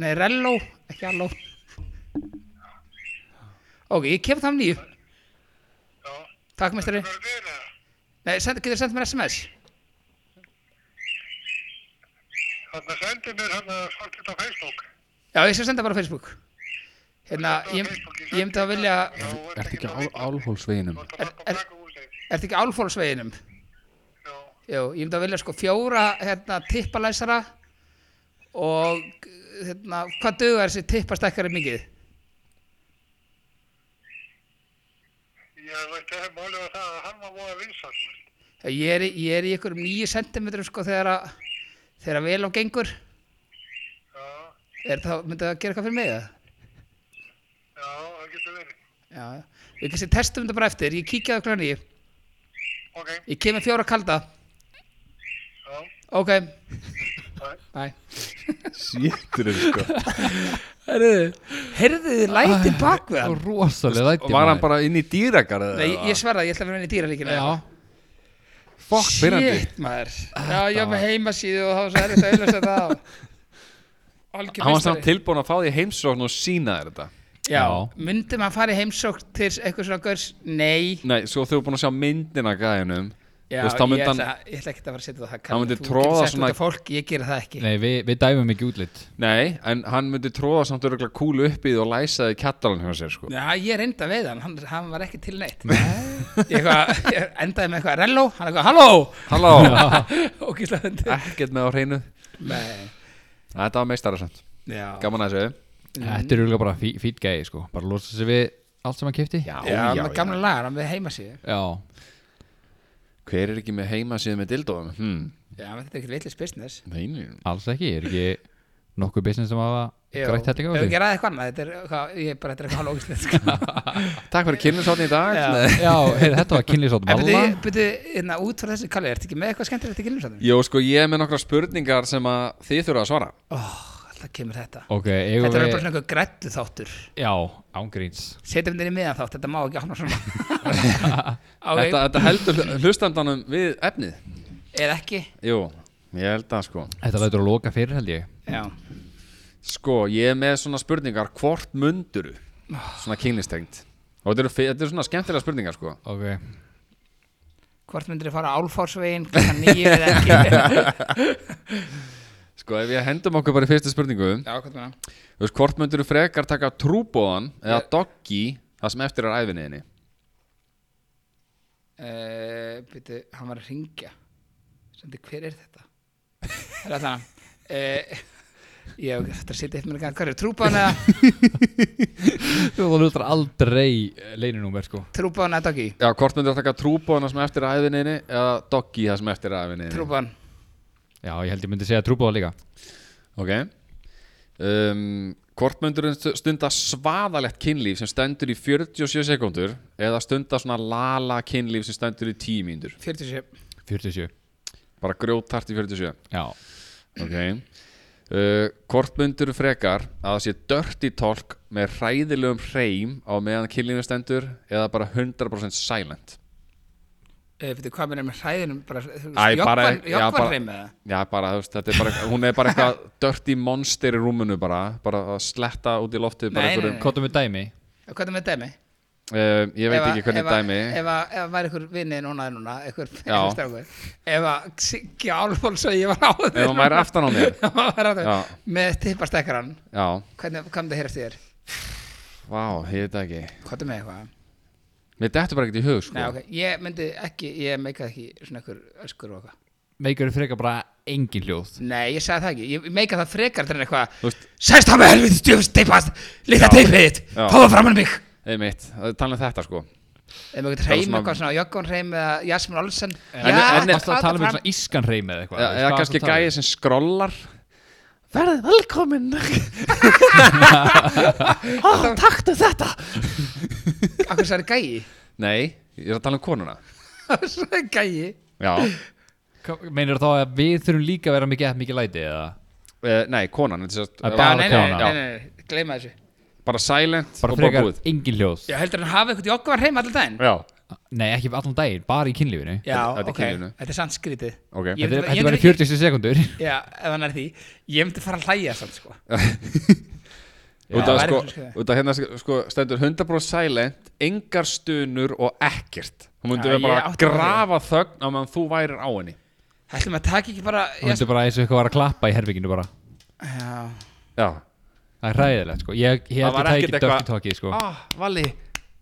[SPEAKER 2] nei, relló, ekki alló ok, ég kem það um nýju
[SPEAKER 4] já.
[SPEAKER 2] takk mestari,
[SPEAKER 4] Hvað er þetta það?
[SPEAKER 2] nei, send, getur sendt mér sms
[SPEAKER 4] Þannig að sendi mér hérna svart þetta á Facebook.
[SPEAKER 2] já, ég skal senda bara á Facebook hérna,
[SPEAKER 4] Þetta á
[SPEAKER 2] ég,
[SPEAKER 4] Facebook,
[SPEAKER 2] ég myndi að vilja
[SPEAKER 4] Já, þú ert
[SPEAKER 1] Ertu ekki á
[SPEAKER 4] með vitni.
[SPEAKER 1] álhólsveginum?
[SPEAKER 4] Þú ert að lappa
[SPEAKER 2] Er- er-
[SPEAKER 4] baka úr þig.
[SPEAKER 2] ertu ekki álfólsveginum
[SPEAKER 4] Já,
[SPEAKER 2] Jú, ég myndi að vilja sko fjóra hérna, tippalæsara og hérna, hvað dugar þessi tippastekari mikið?
[SPEAKER 4] ég veit ekki málið var það að hann var voða vinsall.
[SPEAKER 2] Ég er, í- ég er í einhverjum nýju sentimetrum sko þegar að, þegar að vel á gengur.
[SPEAKER 4] Já,
[SPEAKER 2] Er það, myndi það gera eitthvað fyrir mig það?
[SPEAKER 4] já, það getur verið.
[SPEAKER 2] Já, við kannski testum þetta bara eftir. Ég kíkja á okkur nýju.
[SPEAKER 4] Ok,
[SPEAKER 2] Ég kem með fjóra kalda.
[SPEAKER 4] já,
[SPEAKER 2] Ok,
[SPEAKER 4] það
[SPEAKER 2] næ.
[SPEAKER 1] Sýttur sko
[SPEAKER 2] Herðu, herðu þið lætin bak við hann?
[SPEAKER 3] Rosalega læti
[SPEAKER 1] Var hann bara inn í dýrakar eða?
[SPEAKER 2] Nei, ég sverða, ég ætla að vera inn í dýralíkina.
[SPEAKER 3] Já
[SPEAKER 1] Fokk, byrjandi
[SPEAKER 2] Shit, maður. Já, ég var með heimasíðu og það var svo erfitt að auðvitað það á. Algjör
[SPEAKER 1] Hann var
[SPEAKER 2] meistari.
[SPEAKER 1] samt tilbúin að fá því heimsókn og sína þér þetta
[SPEAKER 2] Já,
[SPEAKER 3] Já.
[SPEAKER 2] myndi maður fara í heimsókn til eitthvað svona görs? Nei.
[SPEAKER 1] Nei, sko, svo þau eru búin að sjá myndina gæðinum
[SPEAKER 2] Já,
[SPEAKER 1] veist, þá myndi
[SPEAKER 2] ég,
[SPEAKER 1] hann-
[SPEAKER 2] ætla, ég ætla ekki að fara að setja það
[SPEAKER 1] Hann myndi
[SPEAKER 2] Þú getur
[SPEAKER 1] troða
[SPEAKER 2] sett
[SPEAKER 1] svona-
[SPEAKER 2] út á fólk, ég gera það ekki
[SPEAKER 3] Nei, við, við dæfum ekki útlitt
[SPEAKER 1] Nei, en hann myndi tróða samt öruglega kúlu upp í því og læsa því kjattalan hjá sér sko
[SPEAKER 2] Já, ég reynda við hann, hann, hann var ekki til neitt ég, eitthvað, ég endaði með eitthvað relló, hann eitthvað halló
[SPEAKER 1] Halló,
[SPEAKER 2] og gísla hundi
[SPEAKER 1] ekkert með á hreinu Þetta var meistara samt
[SPEAKER 2] Já,
[SPEAKER 1] Gaman að þessu
[SPEAKER 3] Þetta er auðvitað bara fí, fít gæi sko Bara losa sig við allt sem hann kipti Já,
[SPEAKER 2] já, með gamla lagar, hann við heima síðu
[SPEAKER 1] Hver er ekki með heimasíðu með dildóðum? Hmm.
[SPEAKER 2] Já, menn þetta er ekkert vitlis business
[SPEAKER 1] Nei, nei.
[SPEAKER 3] alls ekki Er ekki nokkuð business sem hafa
[SPEAKER 2] Já,
[SPEAKER 3] grætt hellinga á
[SPEAKER 2] ef
[SPEAKER 3] sig
[SPEAKER 2] við gera eitthvað annað, þetta er, eitthvað- ég er bara, þetta er eitthvað sko. hálf ógíslega
[SPEAKER 1] Takk fyrir kynlisáttin í dag Nei.
[SPEAKER 3] Já, heyr, þetta var kynlýsátt Malla
[SPEAKER 2] En byrju, hérna, út frá þessu, Kalli, ertu ekki með eitthvað skemmtilegt í gilnum
[SPEAKER 1] Jó, sko, ég er með nokkra spurningar sem að þið þurfa að svara
[SPEAKER 2] Ó, alltaf kemur þetta
[SPEAKER 3] Ok,
[SPEAKER 2] Þetta
[SPEAKER 3] eigum
[SPEAKER 2] er bara
[SPEAKER 3] við
[SPEAKER 2] svona eitthvað grættu þáttur
[SPEAKER 3] Já, ángríns
[SPEAKER 2] setjum þetta inn í miðan þátt, þetta má ekki hafna svona okay.
[SPEAKER 1] þetta, þetta heldur hl- hlustandanum við efnið
[SPEAKER 2] eða ekki
[SPEAKER 1] Jú, ég held að sko
[SPEAKER 3] Þetta lætur að loka fyrir held ég
[SPEAKER 2] já,
[SPEAKER 1] Sko, ég er með svona spurningar Hvort munduru? Svona kynlistengt Og þetta eru, fi- þetta eru svona skemmtilega spurningar, sko
[SPEAKER 3] Ok
[SPEAKER 2] hvort myndir þið fara álfársvegin klokkan nýju eða ekki
[SPEAKER 1] Sko, ef ég hendum okkur bara í fyrstu spurningu
[SPEAKER 2] já, hvað meina
[SPEAKER 1] Þú veist, hvort myndur þú frekar taka trúbóðan eða doggi það sem eftir er æfinni þinni
[SPEAKER 2] uh, byrju, hann var að ringja sendi, hver er þetta það er alltaf uh, ég þetta er að sitja eitt með hvað er trúbána,
[SPEAKER 3] Þú hlutar aldrei leininúmer sko
[SPEAKER 2] trúbána doggy
[SPEAKER 1] Já, hvort myndur þú taka trúbóðan það sem eftir er æfinni þinni eða doggi það sem eftir er æfinni þinni
[SPEAKER 2] trúbán,
[SPEAKER 3] Já, ég held ég myndi segja trúbóða líka
[SPEAKER 1] Ok um, Hvort myndur þú stunda svaðalegt kynlíf sem stendur í 47 sekúndur eða stunda svona lala kynlíf sem stendur í 10 mínútur
[SPEAKER 2] 47
[SPEAKER 3] 47
[SPEAKER 1] bara grjótart í 47
[SPEAKER 3] Já,
[SPEAKER 1] ok uh, hvort myndur frekar að það sé dirty talk með hræðilegum hreim á meðan kynlífið stendur eða bara 100% silent
[SPEAKER 2] uh, byrju, hvað meina með hræðinum bara, þú
[SPEAKER 1] Æ,
[SPEAKER 2] veist,
[SPEAKER 1] bara-
[SPEAKER 2] joggvan-
[SPEAKER 1] já, bara-
[SPEAKER 2] joggvanreim eða?
[SPEAKER 1] já bara þú veist þetta er bara hún er bara eitthvað dirty monster í rúmunu bara bara að sletta út í loftið bara
[SPEAKER 2] Nei, nei,
[SPEAKER 1] einhverjum-
[SPEAKER 2] nei.
[SPEAKER 3] kvotum við dæmi
[SPEAKER 2] hvað er það Eh, með dæmi
[SPEAKER 1] Uh, ég veit
[SPEAKER 2] Ef að-
[SPEAKER 1] ekki hvernig
[SPEAKER 2] ef að-
[SPEAKER 1] dæmi
[SPEAKER 2] ef að ef að væri ykkur vinnið núna er núna ykkur
[SPEAKER 1] Já.
[SPEAKER 2] strákur ef að Siggi Álfóls og ég var á þér
[SPEAKER 1] ef hann væri aftan á mér
[SPEAKER 2] Ef hann væri á þér.
[SPEAKER 1] Já.
[SPEAKER 2] með tippastekkaran
[SPEAKER 1] já
[SPEAKER 2] hvernig kom það heyrast þér
[SPEAKER 1] vá ég veit það ekki
[SPEAKER 2] hvað er með eitthvað
[SPEAKER 1] mér dettur bara ekkert í hug sko
[SPEAKER 2] Nei, ok, ég myndi ekki, ég meikaði ekki svona ykkur öskur og eitthvað.
[SPEAKER 3] Meikur frekar bara engin hljóð
[SPEAKER 2] Nei, ég sagði það ekki, ég meikaði það frekar
[SPEAKER 1] Þú
[SPEAKER 2] þegar eitthvað,
[SPEAKER 1] veist-
[SPEAKER 2] sérst það með helvið stjöfust teipast, líka teipið þitt,
[SPEAKER 1] Já.
[SPEAKER 2] fáðu fram hann mig.
[SPEAKER 1] einmitt tala um þetta sko
[SPEAKER 2] Ef maður getur
[SPEAKER 1] Það var
[SPEAKER 2] hreim
[SPEAKER 1] svona-
[SPEAKER 2] eitthvað svona, Jökkon hreim eða Jasmine Olsen.
[SPEAKER 1] En- en-
[SPEAKER 3] Varstu að
[SPEAKER 2] fáðu
[SPEAKER 3] tala um
[SPEAKER 2] fram-
[SPEAKER 3] svona ískan hreim eða eitthvað
[SPEAKER 1] Já,
[SPEAKER 3] veist,
[SPEAKER 1] eða
[SPEAKER 3] hvað
[SPEAKER 1] kannski
[SPEAKER 3] varstu að tala um?
[SPEAKER 1] gæði sem skrollar Verðið velkominn Ó, taktu þetta
[SPEAKER 2] Akkur sagði gæi,
[SPEAKER 1] Nei, ég er að tala um konuna
[SPEAKER 2] svona gæi.
[SPEAKER 1] Já,
[SPEAKER 3] Hva- Meinar þá að við þurfum líka að vera mikið eða mikið læti eða
[SPEAKER 1] uh, nei, konan þetta er
[SPEAKER 3] Að
[SPEAKER 1] sem
[SPEAKER 3] bara
[SPEAKER 1] sagt-
[SPEAKER 2] Já, nei, nei, nei,
[SPEAKER 3] kona.
[SPEAKER 2] nei, nei, nei, gleyma þessu.
[SPEAKER 1] Bara silent
[SPEAKER 3] bara
[SPEAKER 1] og bara
[SPEAKER 3] frekar
[SPEAKER 1] búið
[SPEAKER 3] engin hljóð
[SPEAKER 2] Já, heldur hann hafa eitthvað Jökkon hreim allir daginn?
[SPEAKER 1] Já,
[SPEAKER 3] Nei, ekki allan daginn, bara í kynlífinu
[SPEAKER 2] Já,
[SPEAKER 1] þetta er
[SPEAKER 2] ok,
[SPEAKER 1] kynlífinu.
[SPEAKER 2] þetta er sann skrítið.
[SPEAKER 1] Ok.
[SPEAKER 2] Ég
[SPEAKER 3] Þetta
[SPEAKER 2] myndi-
[SPEAKER 3] er-
[SPEAKER 2] ég
[SPEAKER 3] þetta er bara
[SPEAKER 2] myndi-
[SPEAKER 3] 40 sekundur
[SPEAKER 2] Já, ef hann er því, ég myndi fara að hlæja sann, sko.
[SPEAKER 1] út af sko,
[SPEAKER 2] væri eitthvað skrifað.
[SPEAKER 1] út af hérna sko, stendur 100% silent engar stunur og ekkert Hún myndi
[SPEAKER 2] Já,
[SPEAKER 1] vera
[SPEAKER 2] ég
[SPEAKER 1] bara að
[SPEAKER 2] átti mig á því.
[SPEAKER 1] grafa þögn á meðan þú værir á henni
[SPEAKER 2] Ætlum að taka ekki bara,
[SPEAKER 3] Þú myndir bara eins og eitthvað var að klappa í herbygginu bara
[SPEAKER 2] já,
[SPEAKER 1] Já,
[SPEAKER 3] Það er ræðilegt sko Ég ég held að tæki dökki tóki sko
[SPEAKER 1] Ah, Valli,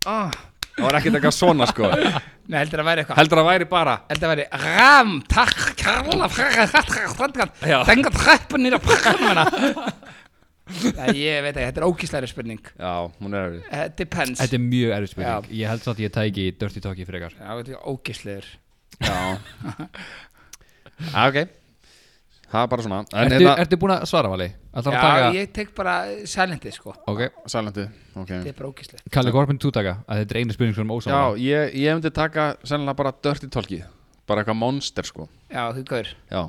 [SPEAKER 1] ah Það var ekkert eitthvað svona sko
[SPEAKER 2] Nei, heldur að væri eitthvað
[SPEAKER 1] Heldur að væri bara
[SPEAKER 2] Heldur að væri Ram, takk, karla, fræða, hræða, hræða Þengar treppun nýra præmuna hérna. Nei, ég veit ekki, þetta er ókíslæri spurning
[SPEAKER 1] Já, hún er erfið
[SPEAKER 2] uh, Depends
[SPEAKER 3] Þetta er mjög erfið spurning Ég held samt að ég tæki Dirty Talkie frekar
[SPEAKER 2] Já, þetta er ókíslæður
[SPEAKER 1] Já ah, Ok Það er bara svona En
[SPEAKER 3] Ertu,
[SPEAKER 1] hérna
[SPEAKER 3] ertu búin að svara vali? Ætlar
[SPEAKER 2] Já,
[SPEAKER 3] að taka
[SPEAKER 2] ég tek bara silentið, sko
[SPEAKER 3] Ok
[SPEAKER 1] Sælandi Ok
[SPEAKER 2] Þetta er bara ókíslæður
[SPEAKER 3] Kalli, hvað er þú taka? Að þetta er einu spurning sem er
[SPEAKER 1] Já,
[SPEAKER 3] ósáma
[SPEAKER 1] ég, ég myndi taka sennilega bara Dirty Talki Bara eitthvað monster sko
[SPEAKER 2] Já, þú gaur
[SPEAKER 1] Já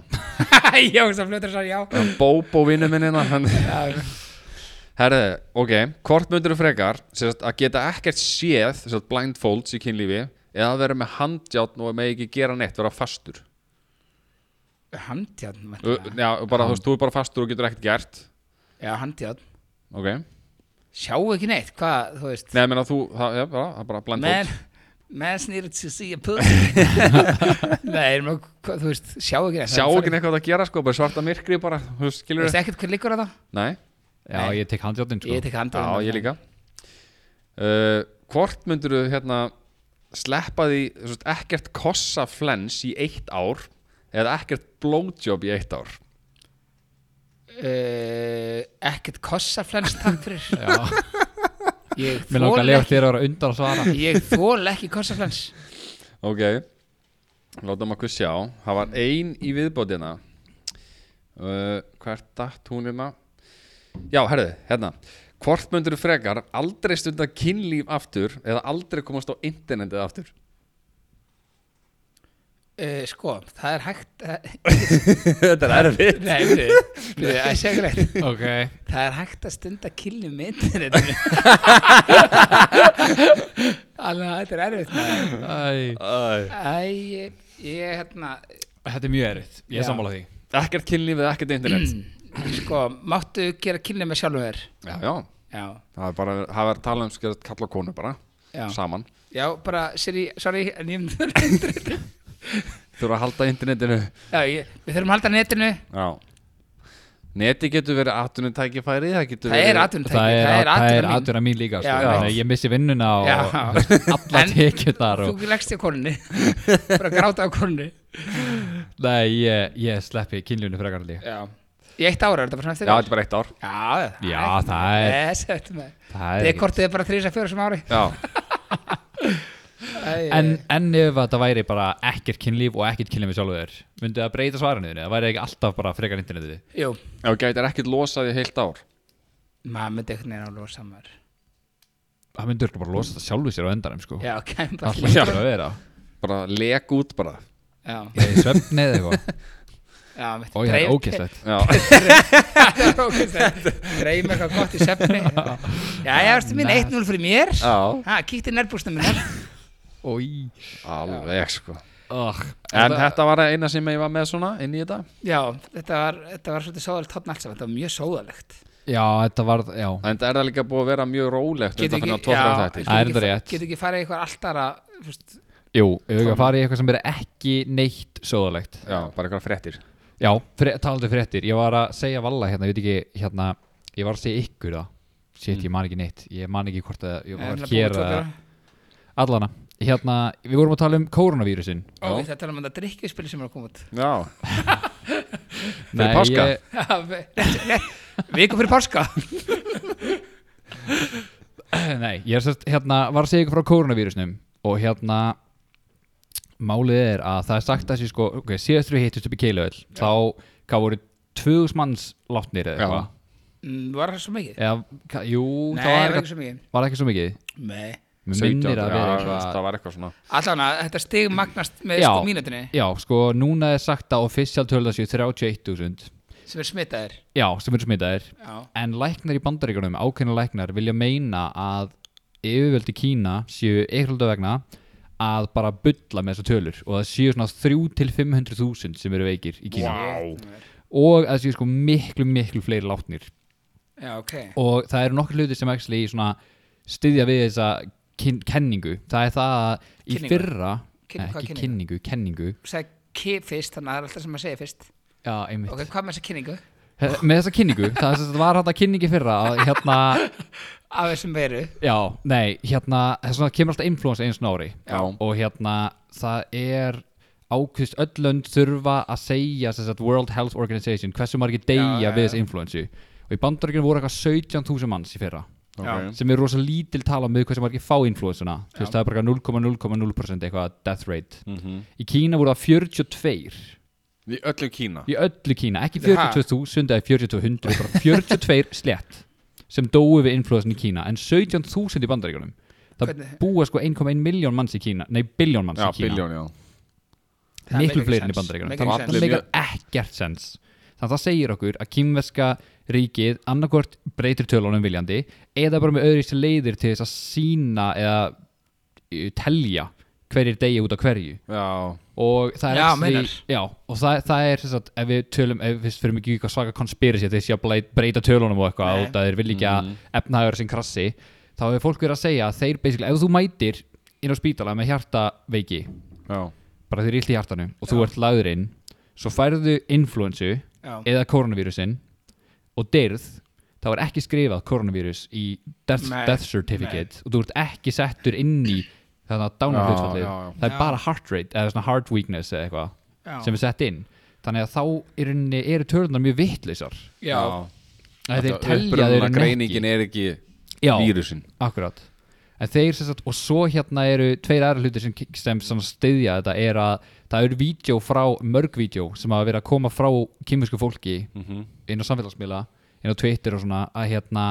[SPEAKER 2] Já, það fljóttur svar, já
[SPEAKER 1] En Bobo vinnu minna hann...
[SPEAKER 2] Já,
[SPEAKER 1] Herðu, ok Hvort myndir þú frekar sérst, að geta ekkert séð sérst, blindfolds í kynlífi eða að vera með handjátn og með ekki gera neitt vera fastur
[SPEAKER 2] Handjárn
[SPEAKER 1] Ö,
[SPEAKER 2] væntanlega.
[SPEAKER 1] Já, bara, þú veist, þú er bara fastur og getur ekkert gert
[SPEAKER 2] Já, handjárn
[SPEAKER 1] Ok Nei,
[SPEAKER 2] Sjáu ekki neitt, hvað, þú veist
[SPEAKER 1] ég meina þú, það, já, bara, það er bara
[SPEAKER 2] Man,
[SPEAKER 1] blindfolds
[SPEAKER 2] man's needed to see a pussy Nei, erum að- hvað, þú veist, sjáu ekki neitt
[SPEAKER 1] Sjá ekki neitt hvað það gera sko, bara svarta myrkri bara, þú veist,
[SPEAKER 2] Þú
[SPEAKER 1] skilur
[SPEAKER 2] veist ekkert hver liggur á það?
[SPEAKER 1] Nei,
[SPEAKER 3] Já, ég tek handjáttinn sko
[SPEAKER 2] Ég tek hérna.
[SPEAKER 1] já,
[SPEAKER 2] handað
[SPEAKER 1] ég líka uh, Hvort myndur þú hérna sleppa því þú veist, ekkert kossa flens í eitt ár eða ekkert blowjob í eitt ár
[SPEAKER 2] uh, Ekkert kossaflens takk fyrir
[SPEAKER 3] Já,
[SPEAKER 2] Ég
[SPEAKER 3] mér langar að lega
[SPEAKER 2] þól
[SPEAKER 3] þér að vera undan að svara
[SPEAKER 2] ekki Ég þól ekki kossaflens
[SPEAKER 1] Ok, látum okkur sjá Það var ein í viðbótina uh, Hvert datt hún hérna? Já, herðu, hérna Hvort myndur þú frekar aldrei stunda kynlíf aftur eða aldrei komast á internetið aftur
[SPEAKER 2] uh, Sko, það er hægt eh,
[SPEAKER 1] Þetta er erfið
[SPEAKER 2] Nei, byrju, byrju, að segja ykkur eitt.
[SPEAKER 3] Ok
[SPEAKER 2] Það er hægt að stunda kynni um myndir Alveg, þetta er erfitt maður.
[SPEAKER 3] Æ,
[SPEAKER 2] Æ, ég, ég hérna
[SPEAKER 3] Þetta er mjög erfitt, ég
[SPEAKER 2] Já.
[SPEAKER 3] er sammála því
[SPEAKER 1] Ekkert kynlíf eða ekkert internet
[SPEAKER 2] Sko, máttu gera kynni með sjálfum þér
[SPEAKER 1] Já, já,
[SPEAKER 2] Já,
[SPEAKER 1] það er bara það er talað um skjöld kalla og konu bara
[SPEAKER 2] já
[SPEAKER 1] saman
[SPEAKER 2] Já, bara, Siri, sorry, en ég myndi
[SPEAKER 1] þurfa að halda internetinu
[SPEAKER 2] Já, ég, við þurfum að halda netinu
[SPEAKER 1] Já Neti getur verið atvinnutækifæri Það, getur
[SPEAKER 2] Það er
[SPEAKER 1] verið-
[SPEAKER 2] atvinnutæki,
[SPEAKER 3] það er,
[SPEAKER 2] það er atvinnum
[SPEAKER 3] aðdurna mín líka sko.
[SPEAKER 2] Já,
[SPEAKER 3] Þannig að
[SPEAKER 1] já.
[SPEAKER 3] ég missi vinnuna og
[SPEAKER 2] Já.
[SPEAKER 3] alla
[SPEAKER 2] En-
[SPEAKER 3] tekjur þar og,
[SPEAKER 2] Þú leggst í konunni Bara gráta á konunni
[SPEAKER 3] nei, ég, ég sleppi kynlunni frekar líka
[SPEAKER 2] Já Í eitt ára er þetta bara svona
[SPEAKER 1] Já,
[SPEAKER 2] eftir
[SPEAKER 1] þetta er bara eitt ár
[SPEAKER 2] Já,
[SPEAKER 3] Já, það er-
[SPEAKER 2] Þess, þetta með
[SPEAKER 3] það
[SPEAKER 2] Eh,
[SPEAKER 3] er
[SPEAKER 2] Þið
[SPEAKER 3] ekki
[SPEAKER 2] kortið er bara þrýsa fjóra sem ári
[SPEAKER 1] Já,
[SPEAKER 2] Æ,
[SPEAKER 3] en, en ef þetta væri bara ekkert kynlíf og ekkert kynlíf við sjálfu þér myndi það breyta svarinu þínu, það væri ekki alltaf bara frekar internetið
[SPEAKER 2] Jú,
[SPEAKER 1] ef þú gætir ekkert losað í heilt ár
[SPEAKER 2] maður myndi einhvern veginn að losa maður
[SPEAKER 3] það myndi örugglega bara losa það sjálfu sér á endanum sko.
[SPEAKER 2] Já, kæm
[SPEAKER 3] það
[SPEAKER 2] bara
[SPEAKER 3] hlýtur að vera
[SPEAKER 1] Bara lek út bara
[SPEAKER 2] Já,
[SPEAKER 3] í svefni eða eitthvað
[SPEAKER 2] já, mitt
[SPEAKER 3] og ég er ókesslegt
[SPEAKER 1] Já,
[SPEAKER 2] Dreym eitthvað gott í sefni Já, já, veistu mín 1-0 fyrir mér
[SPEAKER 1] já
[SPEAKER 2] Ha, kíkti nærbústum minnar
[SPEAKER 1] alveg sko En
[SPEAKER 3] en
[SPEAKER 1] þetta var eina sem ég var með svona inn í þetta
[SPEAKER 2] Já, þetta var, þetta var svolítið sóðalegt tónn alls Þetta var mjög sóðalegt
[SPEAKER 3] já, þetta var já,
[SPEAKER 1] En það er það líka búið að vera mjög rólegt Þetta finna tvo þrjá þættir
[SPEAKER 3] Það er þetta rétt.
[SPEAKER 2] Getur ekki farið í eitthvað alltara fyrst,
[SPEAKER 3] jú, ef við farið í eitthvað sem er ekki neitt söðalegt
[SPEAKER 1] Já, bara eitthvað fréttir
[SPEAKER 3] Já, fre- talandi um fréttir, ég var að segja Valla hérna, ég veit ekki, hérna ég var að segja ykkur það, shit,
[SPEAKER 1] Mm.
[SPEAKER 3] ég man ekki neitt ég man ekki hvort að, ég var hér að, allana, hérna við vorum að tala um koronavírusin
[SPEAKER 2] Ó, þetta er um þetta drikkjuspil sem er að koma út
[SPEAKER 1] Já,
[SPEAKER 3] Nei,
[SPEAKER 1] páska?
[SPEAKER 3] ég-
[SPEAKER 2] Já, við- Viku fyrir páska
[SPEAKER 3] Nei, ég er sérst, hérna, var að segja ykkur frá koronavírusnum og hérna málið er að það er sagt að þessi sko, ok, síðastur við hittist upp í Keilöðl þá, hvað voru 2000 manns látnir eða
[SPEAKER 1] Já.
[SPEAKER 3] eitthvað
[SPEAKER 2] Mm, Var það svo mikið?
[SPEAKER 3] eða, ka, jú,
[SPEAKER 2] Nei, það
[SPEAKER 3] það var
[SPEAKER 2] var
[SPEAKER 3] eitthvað,
[SPEAKER 2] ekki svo mikið
[SPEAKER 3] var það ekki svo mikið
[SPEAKER 2] Nei
[SPEAKER 3] Mér
[SPEAKER 1] 17,
[SPEAKER 3] minnir að vera
[SPEAKER 1] já,
[SPEAKER 3] eitthvað
[SPEAKER 1] Það var eitthvað svona
[SPEAKER 2] Allan að þetta stig magnast með
[SPEAKER 3] Já.
[SPEAKER 2] sko mínutinni
[SPEAKER 3] Já, sko, núna er sagt að official tölða séu 31.000
[SPEAKER 2] sem er smitaðir
[SPEAKER 3] Já, sem eru smitaðir
[SPEAKER 2] Já,
[SPEAKER 3] En læknar í bandaríkunum, ákveðna læknar vilja meina að yfirvöldi Kína séu eitthvað vegna að bara bulla með þessar tölur og það séu svona 3-500.000 sem eru veikir í Kína og að það séu sko miklu, miklu fleiri látnir
[SPEAKER 2] já ok
[SPEAKER 3] og það eru nokkur hluti sem actually svona styðja við þessa kyn, kenningu það er það að í
[SPEAKER 2] Kynningu?
[SPEAKER 3] fyrra
[SPEAKER 2] Kyn-
[SPEAKER 3] nei,
[SPEAKER 2] hvað
[SPEAKER 3] ekki
[SPEAKER 2] kynningu?
[SPEAKER 3] kynningu, kenningu
[SPEAKER 2] Sæk ki fyrst, þannig að það er alltaf sem maður segir fyrst
[SPEAKER 3] já, einmitt
[SPEAKER 2] Ok, hvað með þessa kynningu?
[SPEAKER 3] He- með þessa kynningu, það er sem sagt var þetta kynningi fyrra að hérna,
[SPEAKER 2] Af þessum veru
[SPEAKER 3] já, nei hérna, þess vegna kemur alltaf influens eins og ári
[SPEAKER 1] Já.
[SPEAKER 3] og hérna, það er ákvist öllönd þurfa að segja sem sagt World Health Organization hversu margir deyja
[SPEAKER 2] Já, já,
[SPEAKER 3] við
[SPEAKER 2] já.
[SPEAKER 3] þessa influensu og í bandaríkjunum voru eitthvað 17.000 manns í fyrra
[SPEAKER 1] okay.
[SPEAKER 3] sem er rosa lítil tala með hversu margir fá influensuna þú veist, það er bara eitthvað 0,0,0% eitthvað death rate
[SPEAKER 1] Mhm.
[SPEAKER 3] í Kína voru það 42
[SPEAKER 1] Í öllu Kína
[SPEAKER 3] í öllu Kína, ekki
[SPEAKER 2] Ha?
[SPEAKER 3] 42.000 eða 4200, bara 42 slett sem dói við influensin í Kína en 17.000 í bandaríkunum það
[SPEAKER 2] Hvernig?
[SPEAKER 3] búa sko 1,1 miljón manns í Kína nei, biljón manns
[SPEAKER 1] Já,
[SPEAKER 3] í Kína
[SPEAKER 1] biljón, já
[SPEAKER 2] Það
[SPEAKER 3] miklu
[SPEAKER 2] make
[SPEAKER 3] fleiri enn í
[SPEAKER 2] sense.
[SPEAKER 3] bandaríkunum
[SPEAKER 2] Make
[SPEAKER 3] þannig að
[SPEAKER 1] sense.
[SPEAKER 3] það meikar ekkert sens þannig að það segir okkur að kýmverska ríkið annarkvort breytir tölunum viljandi eða bara með öðru leiðir til þess að sína eða uh, telja hverjir degi út af hverju
[SPEAKER 1] Já,
[SPEAKER 3] og það er
[SPEAKER 2] Já,
[SPEAKER 3] actually-
[SPEAKER 2] meinar.
[SPEAKER 3] já, og það, það er þess að ef við tölum, ef við fyrir mikið eitthvað svaka konspirasi þeir sé að blei- breyta tölunum og eitthvað
[SPEAKER 2] Nei. Mm.
[SPEAKER 3] og það er vilja ekki að efnahagur sem krassi þá hefur fólk verið að segja að þeir basically ef þú mætir inn á spítala með hjartaveiki
[SPEAKER 1] já
[SPEAKER 3] bara þeir illt í hjartanu og þú ert lagður inn svo færðu influensu
[SPEAKER 2] Já.
[SPEAKER 3] eða koronavírusin og dyrð þá er ekki skrifað koronavírus í death,
[SPEAKER 2] Nei.
[SPEAKER 3] death certificate og þú ert ekki settur inn í þannig að dánum
[SPEAKER 1] Já,
[SPEAKER 3] hlutfallið
[SPEAKER 1] já, já.
[SPEAKER 3] það er
[SPEAKER 2] Já.
[SPEAKER 3] bara heart rate eða svona heart weakness eða eitthvað
[SPEAKER 2] Já.
[SPEAKER 3] sem er sett inn þannig að þá er unni, eru tölunar mjög vittlisar
[SPEAKER 2] Já,
[SPEAKER 3] að þeir
[SPEAKER 1] Þetta
[SPEAKER 3] telja þeir
[SPEAKER 1] upprunalegu
[SPEAKER 3] eru
[SPEAKER 1] greiningin er ekki
[SPEAKER 3] Já.
[SPEAKER 1] vírusin
[SPEAKER 3] Akkurat En þeir sem sagt, og svo hérna eru tveir aðra hlutir sem, sem, sem styðja þetta er að það eru vídeo frá, mörg vídeo sem hafa verið að koma frá kýmisku fólki
[SPEAKER 1] Mhm.
[SPEAKER 3] inn á samfélagsmiðla inn á Twitter og svona að hérna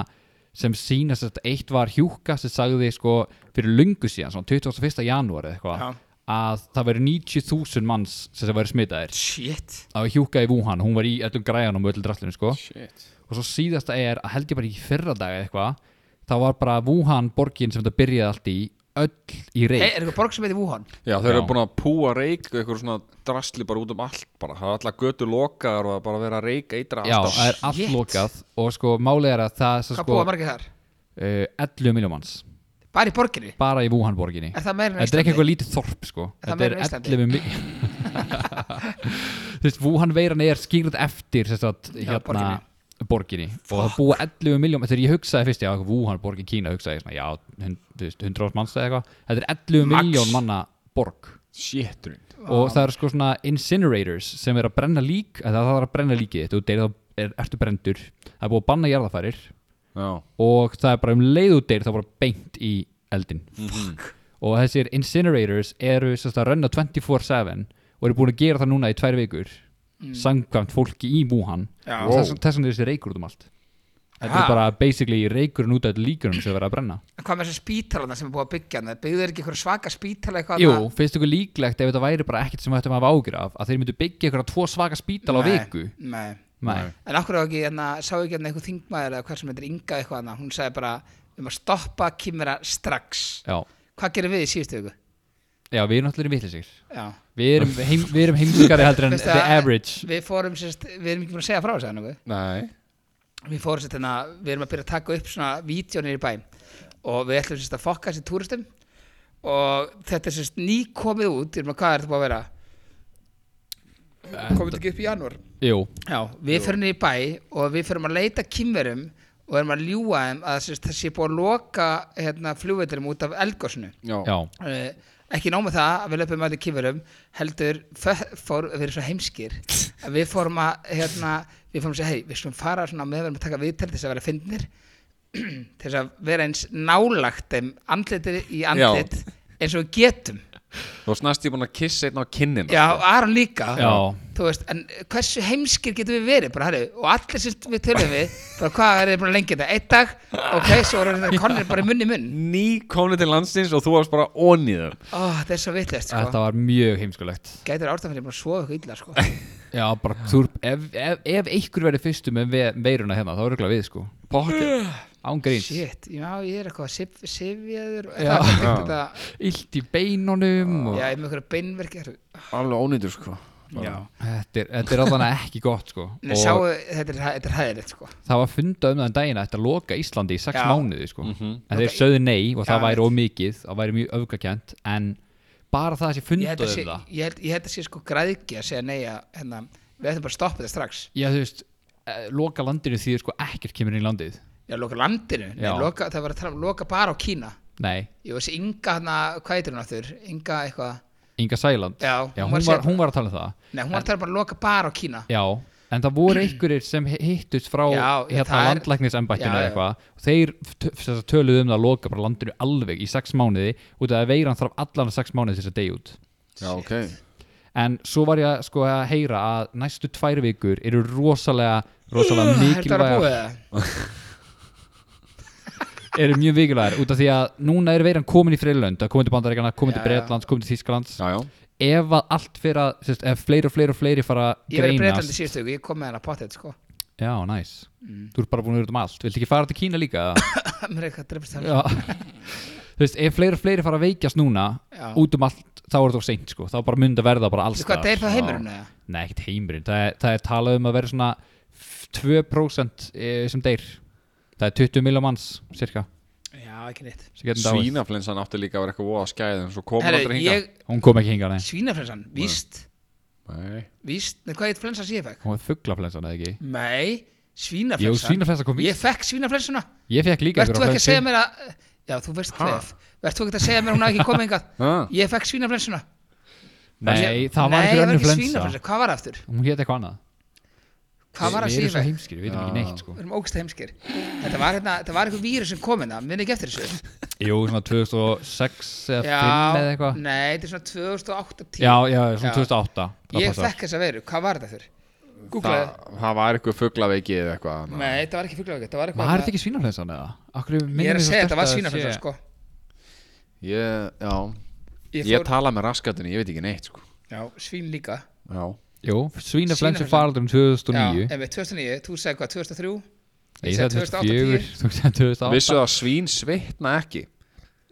[SPEAKER 3] sem sína sem sagt, eitt var hjúka sem sagði sko fyrir lungu síðan svona 21. janúar eða eitthvað
[SPEAKER 2] Já.
[SPEAKER 3] að það verið 90.000 manns sem það verið smitaðir
[SPEAKER 2] shit
[SPEAKER 3] það var hjúka í Wuhan, hún var í öllum græjanum og öllum drastlinu sko
[SPEAKER 1] Shit
[SPEAKER 3] og svo síðasta er að held ég bara í fyrra dag eða eitthvað þá var bara Wuhan borgin sem þetta byrjaði allt í öll í
[SPEAKER 2] Hey,
[SPEAKER 3] reik
[SPEAKER 2] Er eitthvað borg sem heitir Wuhan?
[SPEAKER 1] Já, þau eru
[SPEAKER 3] Já.
[SPEAKER 1] búin að púa reik og eitthvað svona drasli bara út um allt bara Það er alltaf götu lokaðar og það er bara að vera að reik eitra
[SPEAKER 3] já,
[SPEAKER 1] alltaf
[SPEAKER 3] það er allt
[SPEAKER 2] oh, Shit.
[SPEAKER 3] lokað og sko málið er að það
[SPEAKER 2] Hvað
[SPEAKER 3] er svo
[SPEAKER 2] búa
[SPEAKER 3] sko uh,
[SPEAKER 2] margir þar?
[SPEAKER 3] 11 miljón manns
[SPEAKER 2] bara í borginni
[SPEAKER 3] bara í Wuhan-borginni
[SPEAKER 2] er það meira en á
[SPEAKER 3] þetta er ekki
[SPEAKER 2] Íslandi?
[SPEAKER 3] eitthvað lítið þorp sko
[SPEAKER 2] það
[SPEAKER 3] þetta er
[SPEAKER 2] meira en á Íslandi?
[SPEAKER 3] 11 mi- þú veist, Wuhan-veiran er skýrð eftir þess að hérna
[SPEAKER 2] borginni.
[SPEAKER 3] borginni og það búa 11 miljón þegar ég hugsaði fyrst, já, Wuhan-borg í Kína hugsaði ég svona, já, hund- þú veist, 100 árs manns eða eitthvað þetta er 11
[SPEAKER 1] Max.
[SPEAKER 3] miljón manna borg
[SPEAKER 1] Shitturinn
[SPEAKER 3] og það eru sko svona incinerators sem er að brenna lík að það þarf að brenna líkið þitt og deyr þá er, ertu brendur það er búið að banna jarðafærir
[SPEAKER 1] Já,
[SPEAKER 3] og það er bara um leið út deyr þá bara beint í eldin
[SPEAKER 2] Mhm.
[SPEAKER 3] Fuck. og þessir incinerators eru sérst að renna 24-7 og eru búin að gera það núna í tvær vikur
[SPEAKER 2] Mm.
[SPEAKER 3] samkvæmt fólki í Wuhan
[SPEAKER 2] Já.
[SPEAKER 3] og þess, þess vegna er þessi reykur út um allt þetta
[SPEAKER 2] Ha.
[SPEAKER 3] er bara basically reykurinn út af líkunum sem er verið að brenna
[SPEAKER 2] En hvað með þessi spítalana sem er búið að byggja hann byggðu þeir ekki einhverja svaka spítala eitthvað
[SPEAKER 3] Jú,
[SPEAKER 2] þarna?
[SPEAKER 3] finnst ykkur líklegt ef þetta væri bara ekkert sem við ættum að hafa ágjur af að þeir myndu byggja ykkur tvo svaka spítal á
[SPEAKER 2] Nei,
[SPEAKER 3] viku
[SPEAKER 2] nei.
[SPEAKER 3] Nei.
[SPEAKER 2] en okkur ekki, hérna, sá ekki hérna eitthvað þingmaður eða hvað sem heitir Inga eitthvað hana, hún sagði bara um að stoppa kýmera strax
[SPEAKER 3] Já.
[SPEAKER 2] hvað gerum við í síðustu viku?
[SPEAKER 3] Já, við erum náttúrulega vittlisir
[SPEAKER 2] Já.
[SPEAKER 3] Við erum, heim, við erum heimskari heldur en
[SPEAKER 2] Veistu
[SPEAKER 3] the
[SPEAKER 2] að-
[SPEAKER 3] average
[SPEAKER 2] við fórum sérst, við erum ekki búin að segja frá þessu eða nokkuð.
[SPEAKER 1] nei
[SPEAKER 2] við fórum sérst hérna, við erum að byrja að taka upp svona vídjónir í bæ og við ætlum sérst að fokka þessi túristum og þetta er sérst nýkomið út, ég meina, hvað er þetta búið að vera komið þetta ekki upp í janúar
[SPEAKER 3] Jú,
[SPEAKER 2] já, við fyrir niður í bæ og við fyrir að leita kýmverum og erum að ljúga þeim að sérst, þessi er búið að loka hérna, flugvellinum út af eldgósinu
[SPEAKER 1] Já,
[SPEAKER 3] já,
[SPEAKER 2] uh, ekki nóg með það að við löpum allir kýfurum heldur fö- fór, við erum svo heimskir að við fórum að hérna, við fórum að segja hei, við skulum fara svona með verðum að taka viðtal til þess að vera fyndnir til þess að vera eins nálagt þeim andlitið í andlit eins og við getum
[SPEAKER 1] þú varst næst ég búin að kissa einn á kinnina
[SPEAKER 2] já, og Aron líka
[SPEAKER 3] Já.
[SPEAKER 2] þú veist, en hversu heimskir getum við verið bara, herri, og allir sem við tölum við bara hvað er þið búin að lengja þetta, einn dag ok, svo erum við konir bara í munni munn
[SPEAKER 1] Ný komni til landsins og þú varst bara onið þeim
[SPEAKER 2] ó, þetta er svo vitlist, sko,
[SPEAKER 3] þetta var mjög heimskulegt
[SPEAKER 2] gætur ástafinn ég búin að sofa eitthvað illa, sko
[SPEAKER 3] Já, bara, þú, ef, ef, ef einhver verið fyrstu með ve- veiruna hérna, þá er örugglega við sko Pocket, án gríns
[SPEAKER 2] Uh, Shit, já, ég er eitthvað sif, sifjaður og
[SPEAKER 3] Já.
[SPEAKER 2] það er þetta
[SPEAKER 3] Illt í beinunum og,
[SPEAKER 2] Já, ég er með einhverja beinverki Nei,
[SPEAKER 1] Alveg ónýtur sko Já
[SPEAKER 3] þetta, er, þetta er allan ekki gott sko og
[SPEAKER 2] sáu, þetta er, þetta er hæðilegt sko
[SPEAKER 3] það var fundað um það en daginn að þetta loka Íslandi í sex
[SPEAKER 2] Já.
[SPEAKER 3] mánuði sko. en þeir
[SPEAKER 2] Loka í-
[SPEAKER 3] sögðu nei og það
[SPEAKER 2] Já,
[SPEAKER 3] væri
[SPEAKER 2] veit.
[SPEAKER 3] ómikið það væri mjög öfgakjönt en bara það að sé
[SPEAKER 2] Ég
[SPEAKER 3] fundað
[SPEAKER 2] held að sé,
[SPEAKER 3] um það
[SPEAKER 2] ég held, ég held að sé sko græðki að segja nei að hérna, við ætlum bara að stoppa þetta strax
[SPEAKER 3] Já, þú veist, eh, loka landinu því sko ekkert kemur inn í landið
[SPEAKER 2] Já, loka landinu, nei,
[SPEAKER 3] Já.
[SPEAKER 2] loka, það var að tala um loka bara á Kína
[SPEAKER 3] Nei,
[SPEAKER 2] Jú, þessi Inga hana, hvað heitir hún aftur? Inga eitthvað
[SPEAKER 3] Inga Sæland
[SPEAKER 2] Já, hún var að
[SPEAKER 3] hún, var,
[SPEAKER 2] segja-
[SPEAKER 3] hún var að tala um það
[SPEAKER 2] Nei, hún var að tala bara að loka bara á Kína
[SPEAKER 3] Já, en það voru einhverjir sem hi- hittust frá
[SPEAKER 2] Já, já,
[SPEAKER 3] hérna,
[SPEAKER 2] það er- Já,
[SPEAKER 3] landlæknisembættinu eða
[SPEAKER 2] já.
[SPEAKER 3] eitthvað og þeir t- f- þess að töluðu um það að loka bara landinu alveg í sex mánuði út af að veiran þarf allan sex mánuði þess að deyja út
[SPEAKER 1] Já, ok
[SPEAKER 3] en svo var ég að, sko, að heyra að næstu tvær vikur eru rosalega rosalega
[SPEAKER 2] Þetta var Mm, að búið
[SPEAKER 3] mikilvægar
[SPEAKER 2] það
[SPEAKER 3] eru mjög mikilvægar út af því að núna er veiran komin í frilönd það er komin til Bandaríkana, komin til
[SPEAKER 2] Já, já.
[SPEAKER 3] Breitlands, komin til Þísklands
[SPEAKER 1] Já, já
[SPEAKER 3] ef að allt fyrir að sérst, ef fleiri og fleiri og fleiri fara að
[SPEAKER 2] Ég verið breytandi
[SPEAKER 3] greinast
[SPEAKER 2] síðustu, viku, ég kom með hana potið sko
[SPEAKER 3] já, næs,
[SPEAKER 2] Mm.
[SPEAKER 3] þú ert bara búin að vera út um allt viltu ekki fara til Kína líka? eða?
[SPEAKER 2] Mér er eitthvað að dreipast það
[SPEAKER 3] Já. þú veist, ef fleiri og fleiri fara að veikjast núna
[SPEAKER 2] Já.
[SPEAKER 3] út um allt, þá er það of seint sko. þá bara myndi að verða bara alls
[SPEAKER 2] Hvað, það er
[SPEAKER 3] staðar. sko.
[SPEAKER 2] það heimurinn eða?
[SPEAKER 3] Nei, ekkert heimurinn, það er, það er talað um að vera svona f- 2% eh, sem deyr það er 20 miljón manns, cirka
[SPEAKER 2] Já, ekki neitt
[SPEAKER 3] sem getum dáið.
[SPEAKER 1] Svínaflinsan átti líka að vera eitthvað voða skæðin Svo kom hann aldrei
[SPEAKER 2] Herri,
[SPEAKER 1] hinga
[SPEAKER 2] ég,
[SPEAKER 3] hún kom ekki hingað, nei,
[SPEAKER 2] Svínaflensan, víst,
[SPEAKER 1] Nei
[SPEAKER 2] víst, nei hvað heit flensa sem ég fekk?
[SPEAKER 3] hún var fugglaflensan eða ekki
[SPEAKER 2] Nei, svínaflensan.
[SPEAKER 3] Jú, svínaflensa kom víst.
[SPEAKER 2] Ég fekk svínaflensuna.
[SPEAKER 3] ég fekk líka
[SPEAKER 2] Vertu
[SPEAKER 3] einhverja
[SPEAKER 2] ekki að segja
[SPEAKER 3] flensu.
[SPEAKER 2] mér að, já, þú veist
[SPEAKER 1] Ha?
[SPEAKER 2] hvað, vertu ekki að segja mér að hún hafi ekki komið hingað.
[SPEAKER 1] Ha?
[SPEAKER 2] Ég fekk svínaflensuna.
[SPEAKER 3] nei, það
[SPEAKER 2] Nei,
[SPEAKER 3] var einhver önnur flensa
[SPEAKER 2] svínaflensa. Hvað var það aftur?
[SPEAKER 3] hún hétt eitthvað annað
[SPEAKER 2] Hvað var það
[SPEAKER 3] við
[SPEAKER 2] sem
[SPEAKER 3] erum
[SPEAKER 2] ég
[SPEAKER 3] svo
[SPEAKER 2] fekk?
[SPEAKER 3] heimskir, við veitum ekki neitt sko.
[SPEAKER 2] Við erum ógst heimskir. Þetta var hérna, þetta var eitthvað vírus sem kom hérna, minn ekki eftir þessu.
[SPEAKER 3] jú, svona 2006 eða 5 eða
[SPEAKER 2] Já,
[SPEAKER 3] eitthvað
[SPEAKER 2] nei, þetta er svona 2008 10.
[SPEAKER 3] já, já, svona
[SPEAKER 2] Já.
[SPEAKER 3] 2008 það
[SPEAKER 2] Ég
[SPEAKER 3] passar.
[SPEAKER 2] fekk þessa veiru, hvað var það aftur? Googlaði.
[SPEAKER 1] Það, það var eitthvað fugglaveiki eða eitthvað annað.
[SPEAKER 2] Nei, þetta var ekki fugglaveiki, þetta var eitthvað.
[SPEAKER 3] var þetta ekki svínaflensan eða? Akkur
[SPEAKER 2] Ég er að segja, þetta var svínaflensa, sko.
[SPEAKER 1] Ég, já Ég,
[SPEAKER 2] fór-
[SPEAKER 1] tala með raskatinu, ég veit ekki neitt sko
[SPEAKER 2] Já, svín líka
[SPEAKER 1] Já
[SPEAKER 3] jú, svínaflensu
[SPEAKER 2] Svínaflensa.
[SPEAKER 3] faraldurum 2009
[SPEAKER 2] Já, en við 2009, þú segði hvað, 2003
[SPEAKER 3] Ég
[SPEAKER 2] sagði
[SPEAKER 3] sagði 2004, þú sagði 2008
[SPEAKER 1] Vissu að svín svitna ekki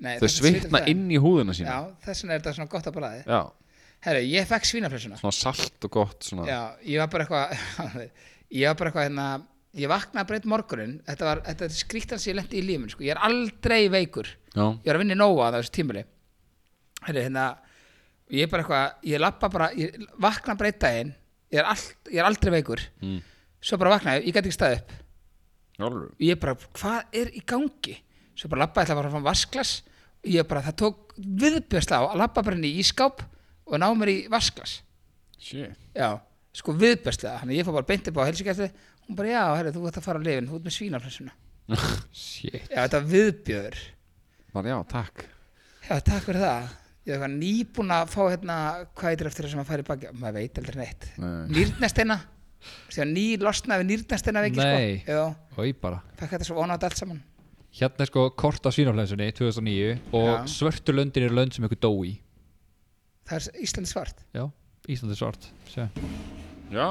[SPEAKER 2] Nei,
[SPEAKER 1] Þau
[SPEAKER 2] þetta
[SPEAKER 1] svitna
[SPEAKER 2] svitar
[SPEAKER 1] inn í húðuna
[SPEAKER 2] Já,
[SPEAKER 1] sína
[SPEAKER 2] þess vegna er þetta svona gott að bræði
[SPEAKER 1] Já,
[SPEAKER 2] Herru, ég fekk svínaflensuna
[SPEAKER 1] Ah. svona salt og gott svona.
[SPEAKER 2] Já, ég var bara eitthvað Ég var bara eitthvað hérna ég vaknaði breytt morgunin þetta var, þetta er skrýttan sem ég lendi í lífum sko. ég er aldrei veikur
[SPEAKER 1] Já,
[SPEAKER 2] ég var að vinna í Nóa á þessu tímuli Heri, hérna, ég er bara eitthvað ég lappa bara, ég vakna breytt daginn ég er, all, ég er aldrei veikur mm.
[SPEAKER 1] Hmm.
[SPEAKER 2] svo bara vaknaði, ég gæti ekki staðið upp
[SPEAKER 1] alveg
[SPEAKER 2] ég bara, hvað er í gangi svo bara labbaði ætla bara fram vasklas ég bara, það tók viðbjörsla á að labba bara inn í ískáp og ná mér í vasklas
[SPEAKER 1] Shit
[SPEAKER 2] já, sko viðbjörsla þannig að ég fór bara beint upp á helsugjæfti hún bara, já, herri, þú ert að fara á lifin, þú ert með svínaflessuna
[SPEAKER 3] shit
[SPEAKER 2] já, þetta viðbjör
[SPEAKER 1] Bara já, takk
[SPEAKER 2] já, takk fyrir það ég var nýbúin að fá hérna hvað heitir eftir það sem að fara í baki maður veit aldrei neitt,
[SPEAKER 1] Nei.
[SPEAKER 2] nýrnesteina ný losnaði nýrnesteina veiki
[SPEAKER 3] Nei.
[SPEAKER 2] sko. já,
[SPEAKER 3] Oi bara
[SPEAKER 2] fæk þetta svo onat allt saman
[SPEAKER 3] Hérna er sko kort af svínaflensunni 2009 og
[SPEAKER 2] Já.
[SPEAKER 3] svörtu löndin eru lönd sem ykkur dó í
[SPEAKER 2] það er Íslandi svart
[SPEAKER 3] Já, Íslandi svart Sjá.
[SPEAKER 1] Já,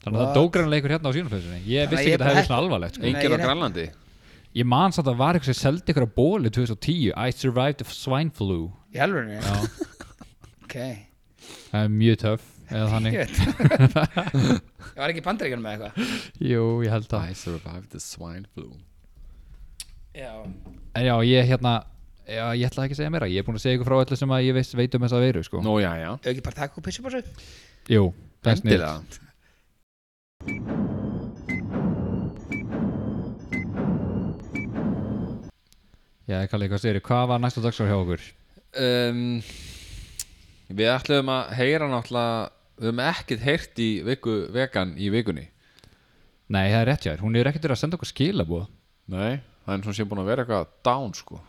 [SPEAKER 3] Þannig að það
[SPEAKER 2] What?
[SPEAKER 3] dó grannlega ykkur hérna á svínaflensunni Ég
[SPEAKER 2] Þannig að ég
[SPEAKER 3] vissi ekki að
[SPEAKER 2] bara
[SPEAKER 3] það hefði
[SPEAKER 2] hef-
[SPEAKER 3] svona alvarlegt sko.
[SPEAKER 2] Nei,
[SPEAKER 1] enginn
[SPEAKER 2] ég
[SPEAKER 1] á
[SPEAKER 2] er-
[SPEAKER 1] Grænlandi
[SPEAKER 3] Ég man samt að það var ykkur sem seldi ykkur að bólu 2010 I survived the swine flu
[SPEAKER 2] í alvörinu,
[SPEAKER 3] Já,
[SPEAKER 2] ok
[SPEAKER 3] það er mjög töff eða þannig
[SPEAKER 2] ég veit ég var ekki í bandaríkjunum með eitthvað
[SPEAKER 3] Jú, ég held það
[SPEAKER 1] I survived the swine flu
[SPEAKER 2] já,
[SPEAKER 3] En já, ég hérna já, Ég ætla ekki að segja meira Ég er búin að segja ykkur frá öllu sem að ég veist veit um þessa veiru sko.
[SPEAKER 1] Nú, já, já
[SPEAKER 2] auki bara takk og pissu bara
[SPEAKER 1] Ah,
[SPEAKER 2] svo
[SPEAKER 3] Jú, það er snið
[SPEAKER 1] Endilega
[SPEAKER 3] Já, ég kalli eitthvað styrir Hvað var næsta dagskrá hjá okkur?
[SPEAKER 1] um, Við ætlum að heyra náttúrulega Við höfum ekkert heyrt í viku, vegan í vikunni
[SPEAKER 3] Nei, það er rétt hjá þér Hún er ekkert verið að senda okkur skilabóð
[SPEAKER 1] Nei, það er eins og hún sé búin að vera eitthvað down sko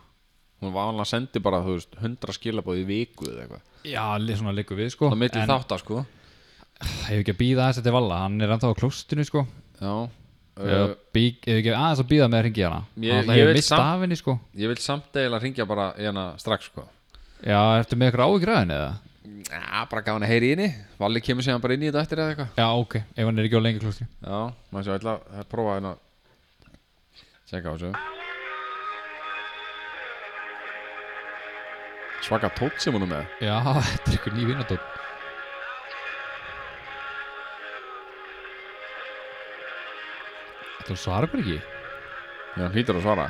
[SPEAKER 1] Hún vanlega sendi bara, þú veist, 100 skilabóð í viku eða eitthvað
[SPEAKER 3] Já, li- svona liggur við sko
[SPEAKER 1] Það er milli
[SPEAKER 3] En
[SPEAKER 1] þátt að sko
[SPEAKER 3] Ég hef ekki að býða aðeins þetta valla Hann er ennþá á klóstinu sko
[SPEAKER 1] Já
[SPEAKER 3] Ég
[SPEAKER 1] uh,
[SPEAKER 3] hef ekki aðeins að býða með að ringi hana
[SPEAKER 1] Ég-
[SPEAKER 3] Hann alltaf
[SPEAKER 1] ég
[SPEAKER 3] hefur
[SPEAKER 1] vil
[SPEAKER 3] mist
[SPEAKER 1] samt-
[SPEAKER 3] af henni sko
[SPEAKER 1] Ég vil samt eiginlega ringja bara í hana strax sko
[SPEAKER 3] Já, ertu með ykkur áhyggraðin eða?
[SPEAKER 1] Já, bara gaf hann að heyri inni Valli kemur síðan bara inn í þetta eftir eða eitthvað
[SPEAKER 3] Já, ok, ef hann er ekki á lengi klóstinu
[SPEAKER 1] Já, maður sé ætla að prófa hérna Tjekka á þessu Svaka tótt sem hún er með
[SPEAKER 3] Já, þetta er ykkur ný vinnatótt Þetta svarar bara ekki
[SPEAKER 1] Já, hann hlýtur að svara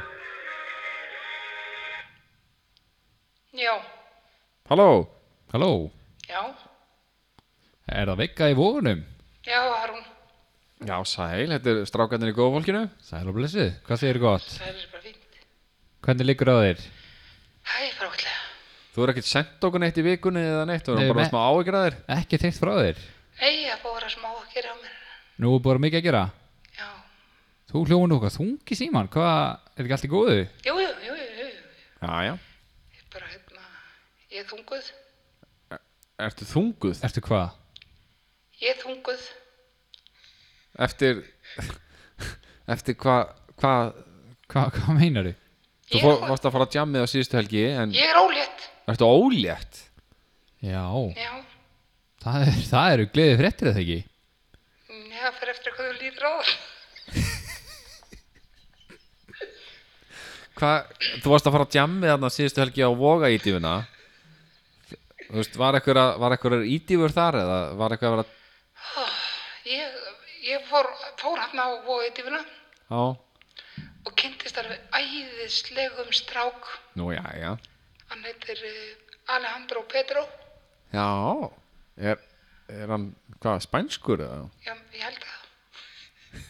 [SPEAKER 5] Já,
[SPEAKER 1] Halló
[SPEAKER 3] Halló,
[SPEAKER 5] já,
[SPEAKER 3] er það veika í vógunum?
[SPEAKER 5] já, Harun,
[SPEAKER 1] Já, sæl, þetta er strákarnir í góða fólkinu
[SPEAKER 3] Sæl og blessuð, hvað segir gott?
[SPEAKER 5] það er bara fínt.
[SPEAKER 3] Hvernig liggur á þér?
[SPEAKER 5] Það er bara ótrúlega.
[SPEAKER 1] Þú er ekkert sendt okkur neitt í vikunni eða neitt Þú
[SPEAKER 3] Nei,
[SPEAKER 1] erum bara
[SPEAKER 3] me-
[SPEAKER 1] smá áhyggjur að þér
[SPEAKER 3] Ekki teikt frá þér
[SPEAKER 5] Ei, að bóra smá að gera á mér.
[SPEAKER 3] Nú er bara mikið að gera
[SPEAKER 5] Já,
[SPEAKER 3] Þú hljóma nú hvað þungi síman, hvað, er ekki allt í góðu?
[SPEAKER 5] jú, jú, jú, jú, jú,
[SPEAKER 1] Já, já
[SPEAKER 5] ég er bara, hérna, ég er þunguð,
[SPEAKER 1] Ertu þunguð?
[SPEAKER 3] Ertu hvað?
[SPEAKER 5] ég er þunguð.
[SPEAKER 1] Eftir Eftir hvað hva,
[SPEAKER 3] Hva, hvað meinar þú?
[SPEAKER 1] Þú
[SPEAKER 5] Ég,
[SPEAKER 1] fó,
[SPEAKER 5] er-
[SPEAKER 1] varst að fara að jammið á síðustu helgi En
[SPEAKER 5] ég er ólétt,
[SPEAKER 1] ertu ólétt?
[SPEAKER 3] Já,
[SPEAKER 5] já,
[SPEAKER 3] það, er, það eru gleðið fréttir eða ekki?
[SPEAKER 5] Mm, já, fyrir eftir hvað þú lítur á það.
[SPEAKER 1] Hva, þú varst að fara að jammið þarna síðustu helgi á voga ídífuna Þú veist, var eitthvað, var eitthvað ídífur þar eða var eitthvað að vera
[SPEAKER 5] Ég, ég fór, fór hann á vóðið divina
[SPEAKER 1] Já,
[SPEAKER 5] og kynntist alveg æðislegum strák,
[SPEAKER 1] nú já, já
[SPEAKER 5] hann heitir eh, Alejandro Pedro,
[SPEAKER 1] Já, er, er hann hvað, spænskur eða?
[SPEAKER 5] já, ég held að,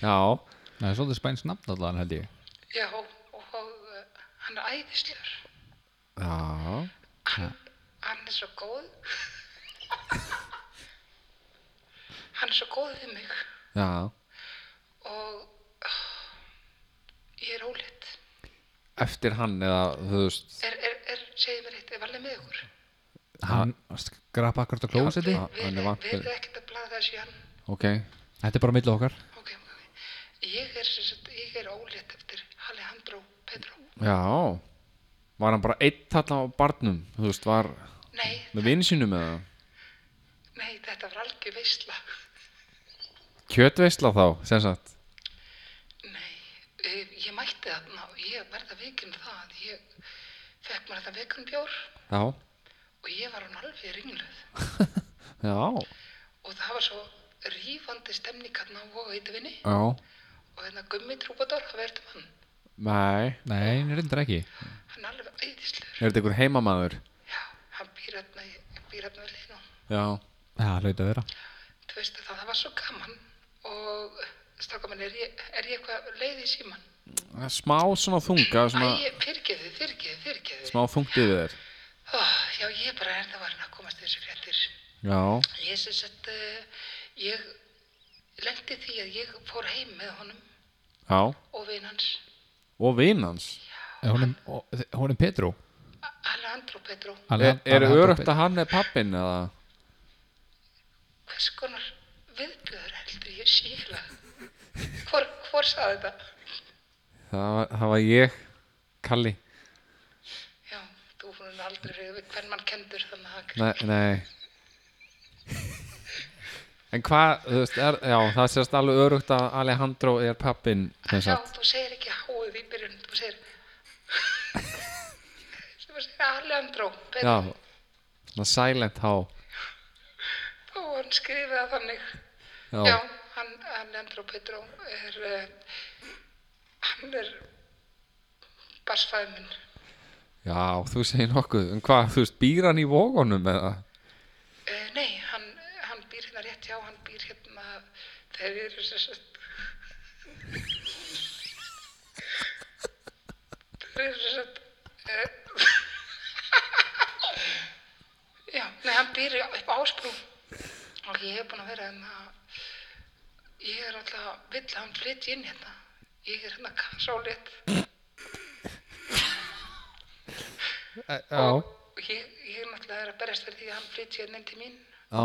[SPEAKER 1] Já,
[SPEAKER 3] Nei, það er svolítið spæns nafn allan held ég
[SPEAKER 5] já, og, og eh, hann er æðislegur.
[SPEAKER 1] já
[SPEAKER 5] Hann er svo góð. hann er svo góð við mig
[SPEAKER 1] Já,
[SPEAKER 5] og oh, ég er ólétt.
[SPEAKER 1] eftir hann eða þú veist
[SPEAKER 5] Er, er, er, segið mér eitt, er valið með ykkur?
[SPEAKER 3] Hann skrapa akkurat á klósetti
[SPEAKER 1] Já,
[SPEAKER 5] Við
[SPEAKER 1] hann er
[SPEAKER 5] erum
[SPEAKER 1] vantur.
[SPEAKER 5] ekkert að blaða þessu í hann.
[SPEAKER 1] Ok,
[SPEAKER 3] Þetta er bara milli okkar
[SPEAKER 5] Ok, ok. Ég er, sem sagt- ég er ólétt eftir Alejandro Pedro.
[SPEAKER 1] já Var hann bara einn þarna á barnum Þú veist, var
[SPEAKER 5] Nei,
[SPEAKER 1] með vinn sínum eða
[SPEAKER 5] nei, þetta var algjör veisla.
[SPEAKER 1] Kjötveisla þá, sem sagt
[SPEAKER 5] Nei, eh, ég mætti þarna og ég verða veikinn um það. Ég fekk mér þetta veikinn bjór
[SPEAKER 1] Já,
[SPEAKER 5] og ég var hann alveg ringluð.
[SPEAKER 1] já
[SPEAKER 5] og það var svo rífandi stemning hérna á vóðveitvinni
[SPEAKER 1] Já,
[SPEAKER 5] og hérna Gummi Trúbador, það verður mann
[SPEAKER 1] nei
[SPEAKER 3] Nei, reyndir ekki
[SPEAKER 5] hann er alveg æðislegur
[SPEAKER 1] Er þetta einhver heimamaður?
[SPEAKER 5] já, hann býr hérna í- býr hérna við liðnum
[SPEAKER 1] Já,
[SPEAKER 3] Já, hlaut að vera
[SPEAKER 5] þú veist það, það var svo gaman og stráka minn, er ég, er ég eitthvað leið í síman?
[SPEAKER 1] það er smá svona þunga svona,
[SPEAKER 5] Æ, fyrgiði, fyrgiði, fyrgiði
[SPEAKER 1] Smá þungt yfir þér
[SPEAKER 5] Ó, já, ég er bara er það varin að komast í þessu fréttir
[SPEAKER 1] Já,
[SPEAKER 5] ég sem sagt uh, ég lendi því að ég fór heim með honum
[SPEAKER 1] já
[SPEAKER 5] og vin hans
[SPEAKER 1] Og vin hans
[SPEAKER 3] Hún er, hún er Petru
[SPEAKER 5] Alejandro Petro,
[SPEAKER 1] Er, er örögt að hann er pappin eða?
[SPEAKER 5] hvers konar viðbjöður heldur ég síla hvor, hvor saði þetta?
[SPEAKER 1] Það, var- það var ég, Kalli
[SPEAKER 5] já, þú fórum aldrei reyðu við hvern mann kendur þannig að
[SPEAKER 1] Nei, nei. En hvað, þú veist, er, já, það sést alveg örugt að Alejandro er pappin sem
[SPEAKER 5] Já,
[SPEAKER 1] sagt.
[SPEAKER 5] þú segir ekki háið í byrjun, þú segir þú segir Alejandro
[SPEAKER 1] Já,
[SPEAKER 5] Petro,
[SPEAKER 1] svona silent há.
[SPEAKER 5] og hann skrifaði það þannig
[SPEAKER 1] Já.
[SPEAKER 5] já hann, Alejandro Petro er uh, hann er barsfæði minn
[SPEAKER 1] Já, þú segir nokkuð. En hvað, þú veist, býr hann í vógunum eða?
[SPEAKER 5] uh, nei, hann, hann býr hérna rétt hjá hann býr hérna þeir eru sér sett þeir eru sér sett uh, já, nei, hann býr í- upp á ásbrú og ég hef búin að vera hérna ég er alltaf vill að hann flytti inn hérna ég er hérna kassáleitt
[SPEAKER 1] Já.
[SPEAKER 5] og ég, ég náttúrulega er að berjast fyrir því að hann flytti hérna inn til mín
[SPEAKER 1] Já.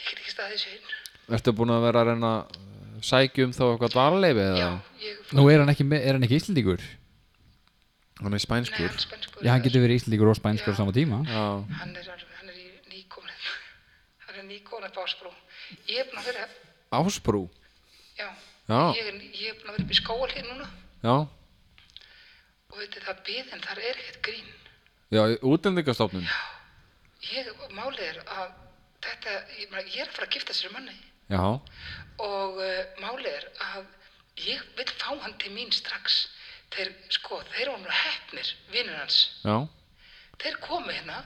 [SPEAKER 5] ég get ekki staðið þessu inn
[SPEAKER 1] Ertu búin að vera að reyna að sækja um þá eitthvað dvalarleifi eða?
[SPEAKER 5] já, ég
[SPEAKER 3] Nú er hann ekki, með- er hann ekki íslendingur
[SPEAKER 1] Hann er
[SPEAKER 5] Nei,
[SPEAKER 1] spænskur.
[SPEAKER 5] hann er spænskur.
[SPEAKER 3] Já, hann getur verið íslendingur og spænskur á
[SPEAKER 5] Já.
[SPEAKER 3] sama tíma
[SPEAKER 1] Já.
[SPEAKER 5] Hann er, alveg- hann er í nýkominn. Hann er nýkominn upp á Ásbrú. Ég er búin að vera,
[SPEAKER 1] Ásbrú.
[SPEAKER 5] já,
[SPEAKER 1] Já.
[SPEAKER 5] Ég, er, ég er búin að vera upp í skóalið núna
[SPEAKER 1] Já.
[SPEAKER 5] og þetta það biðin, þar er ekkert grín.
[SPEAKER 1] Já, útlendingastofnun.
[SPEAKER 5] Ég, málið er að þetta, ég, meina, ég er að fara að gifta sér um manni
[SPEAKER 1] Já.
[SPEAKER 5] og uh, málið er að ég vil fá hann til mín strax. Þeir, sko, þeir voru nú hefnir, vinnur hans.
[SPEAKER 1] Já.
[SPEAKER 5] Þeir komu hérna,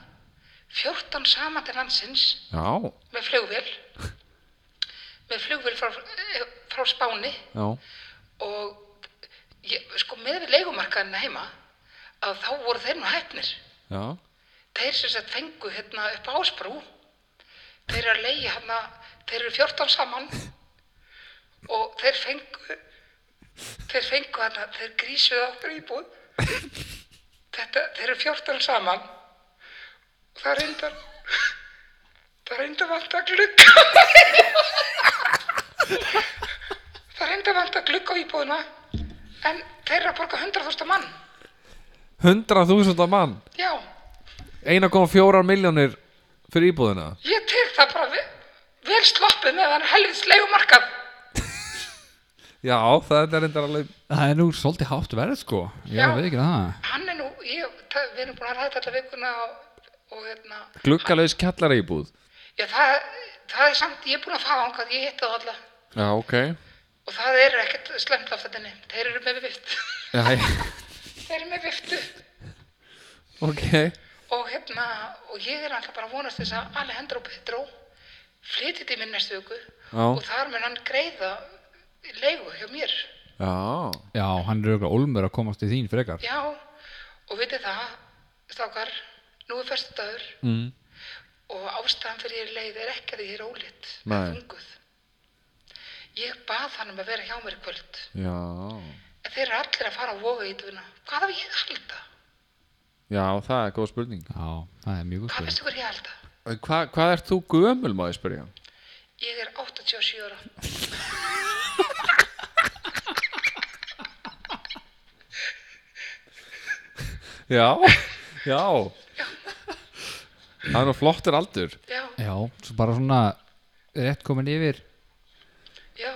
[SPEAKER 5] 14 saman til landsins,
[SPEAKER 1] Já.
[SPEAKER 5] með flugvél með flugvél frá, eh, frá Spáni
[SPEAKER 1] Já.
[SPEAKER 5] og ég, sko með við leigumarkaðina heima að þá voru þeir nú hæfnir
[SPEAKER 1] Já.
[SPEAKER 5] þeir sem sett fengu hérna upp á Ásbrú þeir eru að leigi hérna þeir eru 14 saman og þeir fengu þeir fengu hérna þeir grísuðu okkur íbúð þetta, þeir eru 14 saman og það reyndar það reyndar vant að glugga það reyndar vant að glugga á íbúðuna en þeir eru að borga 100.000 mann
[SPEAKER 1] 100.000 mann.
[SPEAKER 5] já,
[SPEAKER 1] 1,4 miljónir fyrir íbúðina
[SPEAKER 5] ég tek það bara vel, vel sloppið með hann helvits leigumarkað
[SPEAKER 1] Já, það er reyndar alveg
[SPEAKER 3] Það er nú svolítið hátt verð sko Ég
[SPEAKER 5] Já.
[SPEAKER 3] veit ekki það
[SPEAKER 5] hann er nú, ég, það, við erum búin að ræða þetta alla vikuna og, og hérna,
[SPEAKER 1] gluggalaus kjallara íbúð
[SPEAKER 5] já það, það er samt, ég er búin að fara hann ég hitti það alla
[SPEAKER 1] Já, ok
[SPEAKER 5] og það er ekkert slemt af þetta nefn, þeir eru með vift,
[SPEAKER 1] Já,
[SPEAKER 5] þeir eru með viftu
[SPEAKER 1] ok
[SPEAKER 5] og hérna, og ég er alltaf bara að vonast þess að Alejandro Petro flytið í minn næstu viku
[SPEAKER 1] Já.
[SPEAKER 5] og þar mun hann greiða leigu hjá mér,
[SPEAKER 1] Já,
[SPEAKER 3] Já, hann er auðvitað olmur að komast í þín frekar
[SPEAKER 5] já og vitið það, stákar nú er fyrstudagur
[SPEAKER 1] mm.
[SPEAKER 5] og ástæðan fyrir ég er leið er ekki að ég er ólitt
[SPEAKER 1] Nei.
[SPEAKER 5] þunguð ég bað hann um að vera hjá mér í kvöld
[SPEAKER 1] já.
[SPEAKER 5] en þeir eru allir að fara á voga í dvuna hvað haf ég að halda?
[SPEAKER 1] já það er góð spurning
[SPEAKER 3] Já, það er mjög góð
[SPEAKER 5] hvað
[SPEAKER 3] spurning
[SPEAKER 5] finnst ykkur ég að halda?
[SPEAKER 1] Hva, Hvað ert þú gömul, má ég spyrja?
[SPEAKER 5] ég er 87 ára
[SPEAKER 1] Já, já Það er nú flottur aldur
[SPEAKER 5] já,
[SPEAKER 3] Já, svo bara svona rétt komin yfir
[SPEAKER 5] já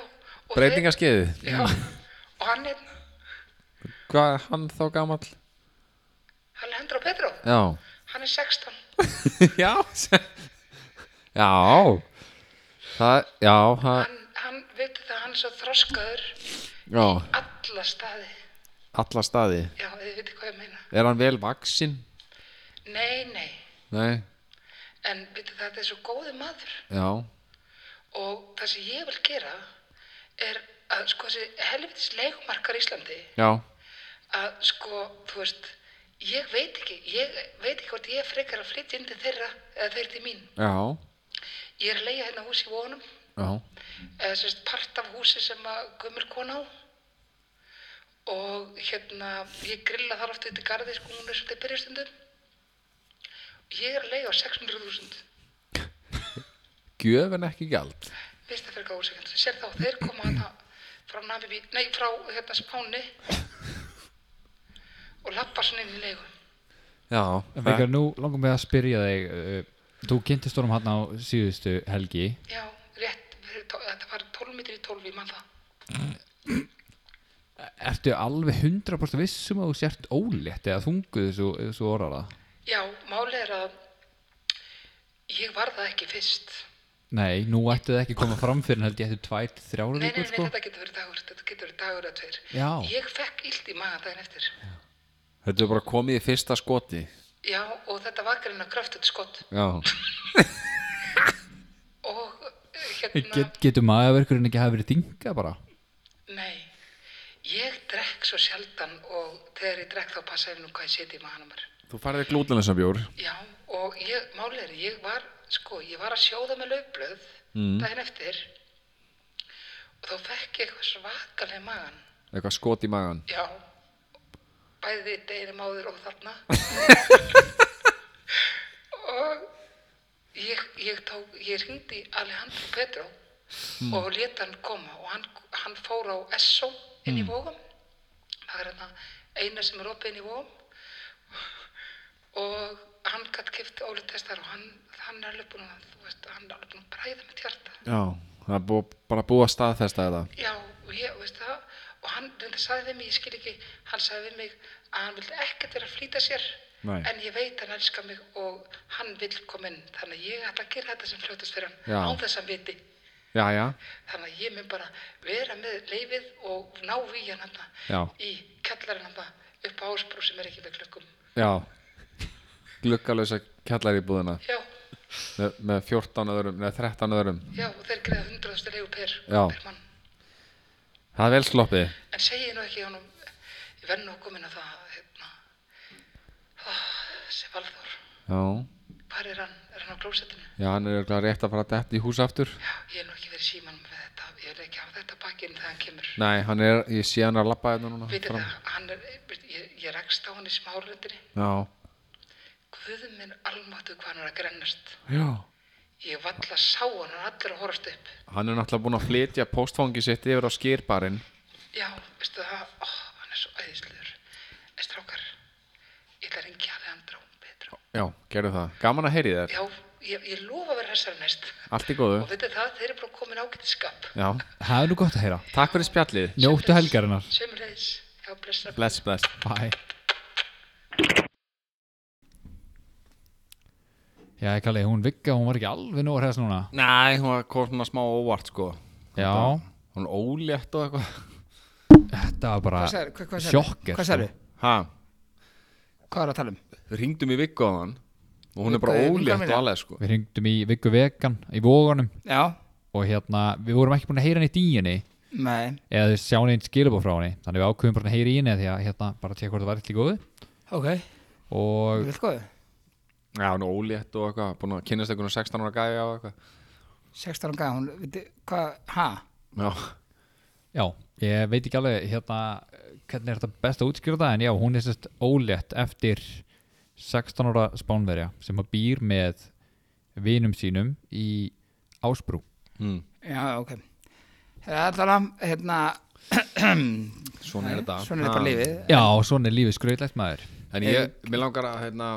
[SPEAKER 5] og
[SPEAKER 1] Breytingaskeiðið
[SPEAKER 5] þeir, já, og hann er
[SPEAKER 1] Hvað er hann þá gamall?
[SPEAKER 5] hann er Hendra Petro
[SPEAKER 1] Já
[SPEAKER 5] hann er 16
[SPEAKER 1] Já, já það, já, það,
[SPEAKER 5] Hann, hann veitir það, hann er svo þroskaður
[SPEAKER 1] já,
[SPEAKER 5] alla staði.
[SPEAKER 1] alla staði
[SPEAKER 5] Já, þið veitir hvað ég meina.
[SPEAKER 1] er hann vel vaksin?
[SPEAKER 5] Nei, nei,
[SPEAKER 1] nei,
[SPEAKER 5] en veitir það, þetta er svo góði maður.
[SPEAKER 1] já,
[SPEAKER 5] Og það sem ég vil gera er að sko þessi helvitis leikumarkar í Íslandi
[SPEAKER 1] já
[SPEAKER 5] að sko, þú veist, ég veit ekki, ég veit ekki hvort ég er frekar að flytja inn til þeirra eða þeir til mín.
[SPEAKER 1] já,
[SPEAKER 5] Ég er að leiða hérna hús í vonum,
[SPEAKER 1] já,
[SPEAKER 5] eða sérst part af húsi sem að gömur kona á og hérna, ég grilla þar oft út í garði, sko, hún er svolítið byrjastundum. Ég er að leiða á 600.000,
[SPEAKER 1] gjöfin ekki gjald
[SPEAKER 5] veist það fyrir gáðu sekund, sér þá, þeir koma hana frá Namibí, nei, frá hérna Spáni og lappa svona inn í leigu.
[SPEAKER 1] já,
[SPEAKER 3] Vekar, nú langar mig að spyrja þig uh, Þú kynntist honum hann á síðustu helgi
[SPEAKER 5] Já, rétt, fyrir tó- þetta var 12 metri í 12, ég mann það.
[SPEAKER 3] Ertu alveg 100% vissum um að þú sért ólétt eða þunguð þessu, þessu orðara?
[SPEAKER 5] Já, málið er að ég var það ekki fyrst.
[SPEAKER 3] Nei, nú ætti það ekki að koma fram fyrir en held ég eftir tvær, til þrjár
[SPEAKER 5] Nei, nei, nei,
[SPEAKER 3] vikur sko
[SPEAKER 5] þetta getur verið dagur, þetta getur verið dagur eða tveir.
[SPEAKER 3] Já.
[SPEAKER 5] Ég fekk illt í maga daginn eftir. Já,
[SPEAKER 1] þetta er bara komið í fyrsta skoti
[SPEAKER 5] og þetta var greina kröftut skott
[SPEAKER 1] já,
[SPEAKER 5] og eh, hérna,
[SPEAKER 3] Get, Getur maðurverkurinn ekki hafa verið þinga bara?
[SPEAKER 5] nei, ég drekk svo sjaldan og þegar ég drekk þá passa ég nú hvað ég seti í maganum mér.
[SPEAKER 1] þú farið glútenlösa bjór
[SPEAKER 5] Já, og ég, málið er, ég var, sko, ég var að sjóða með laufblöð daginn eftir og þá fekk ég eitthvað svakalega í magan.
[SPEAKER 1] eitthvað skot í magan
[SPEAKER 5] Já, bæði deginum áður og þarna. og ég, ég, tók, ég ringdi Alejandro Petro og leta hann koma og hann, hann fór á SO inn í vógum. Það er hérna eina sem er opið inn í vógum og hann gætt kipti Óli testar og hann, hann er alveg búinn að, þú veist, hann er alveg búinn að bræða mitt hjarta.
[SPEAKER 1] já, það er búið, bara búið að staðfesta þetta
[SPEAKER 5] Já, og ég, veist það, og hann reyndi sagði við mig, ég skil ekki, hann sagði við mig að hann vildi ekkert vera að flýta sér,
[SPEAKER 1] Nei.
[SPEAKER 5] en ég veit hann elskar mig og hann vil koma inn, þannig að ég ætla að gera þetta sem fljótast fyrir hann,
[SPEAKER 1] Já.
[SPEAKER 5] án þess að hann viti.
[SPEAKER 1] já, já,
[SPEAKER 5] Þannig að ég mun bara vera með leifið og ná í hann
[SPEAKER 1] Já.
[SPEAKER 5] hann í kallarinn hann upp á ásbrú sem er ekki við klukkum.
[SPEAKER 1] já gluggalösa kjallar í búðina
[SPEAKER 5] Já,
[SPEAKER 1] með, með 14 öðrum, neða 13 öðrum
[SPEAKER 5] já, og þeir greiða hundraðustu leifu per,
[SPEAKER 1] Já.
[SPEAKER 5] per mann.
[SPEAKER 1] það er vel sloppið
[SPEAKER 5] En segi ég nú ekki honum, ég verð nú komin að það, hérna, oh, sem Valþór.
[SPEAKER 1] já,
[SPEAKER 5] Hvar er hann? Er hann á klósettinu?
[SPEAKER 1] já, hann er örugglega rétt að fara dætt í hús aftur
[SPEAKER 5] Já, ég er nú ekki verið símanum með þetta. Ég er ekki á þetta bakkinn þegar hann kemur.
[SPEAKER 1] nei, hann er, ég sé hann að labba þetta núna
[SPEAKER 5] Vitið
[SPEAKER 1] fram.
[SPEAKER 5] það, hann er, ég, ég rekst á hann í smárlöndinni.
[SPEAKER 1] já,
[SPEAKER 5] Guð minn almáttu hvað hann er að grennast.
[SPEAKER 1] já
[SPEAKER 5] Ég valla sá hann, hann er allir að horfast upp.
[SPEAKER 1] hann er náttúrulega búin að flytja postfangi sitt yfir á skýrbarinn
[SPEAKER 5] Já, veistu það, ó, hann er svo æðislegur. En strákar, ég ætla að ringja að Leandró, Petró.
[SPEAKER 1] já, gerðu það, gaman að heyri þér
[SPEAKER 5] Já, ég, ég lofa að vera þessari næst.
[SPEAKER 1] allt í góðu,
[SPEAKER 5] Og vitið það, þeir eru bara komin ágættiskap.
[SPEAKER 1] já,
[SPEAKER 3] Það er nú gott að heyra
[SPEAKER 1] takk fyrir spjallið
[SPEAKER 3] Njóttu helgarinnar
[SPEAKER 5] Sömulegis, já, blessar.
[SPEAKER 1] bless, bless
[SPEAKER 3] Bye Já, ég kalli, hún Vigga, hún var ekki alveg nú að hræðast núna
[SPEAKER 1] nei, hún var kom svona smá óvart sko
[SPEAKER 3] Já,
[SPEAKER 1] hún er ólétt og eitthvað
[SPEAKER 3] þetta var bara
[SPEAKER 2] Hvað sagði, hvað, hvað
[SPEAKER 3] Sjokker,
[SPEAKER 2] Hvað
[SPEAKER 3] sko.
[SPEAKER 2] sagði,
[SPEAKER 1] ha,
[SPEAKER 2] hvað er að tala um?
[SPEAKER 1] við ringdum í Viggo á hann og hún er
[SPEAKER 2] Viggo
[SPEAKER 1] bara
[SPEAKER 2] er
[SPEAKER 1] ólétt
[SPEAKER 2] vinkona
[SPEAKER 1] og
[SPEAKER 2] mín.
[SPEAKER 1] alveg sko
[SPEAKER 3] Við hringdum í Viggu Vegan í Vógunum
[SPEAKER 2] Já,
[SPEAKER 3] og hérna, við vorum ekki búin að heyra henni í dýjunni
[SPEAKER 2] nei,
[SPEAKER 3] eða þau sjá henni skilabóð frá henni þannig við ákveðum bara að heyra í henni því að hérna, bara að tjekka hvort það var eitthvað góðu
[SPEAKER 2] ok,
[SPEAKER 3] og
[SPEAKER 2] vil góðu.
[SPEAKER 1] já, hún er ólétt og eitthvað, búin að kynast einhvern 16 ára gæja og eitthvað
[SPEAKER 2] 16 ára gæði, hún, viti, hvað, ha?
[SPEAKER 1] já,
[SPEAKER 3] já, ég veit ekki alveg hérna, hvernig er þetta best að útskýra það en já, hún er sérst ólétt eftir 16 ára spánverja sem að býr með vinum sínum í Ásbrú
[SPEAKER 1] mm,
[SPEAKER 2] Já, ok. Það er allan, hérna,
[SPEAKER 1] svona er þetta
[SPEAKER 2] svona er bara
[SPEAKER 1] Ha.
[SPEAKER 2] lífið.
[SPEAKER 3] Já, svona er lífið skrautlegt maður
[SPEAKER 1] En ég, mér langar að hérna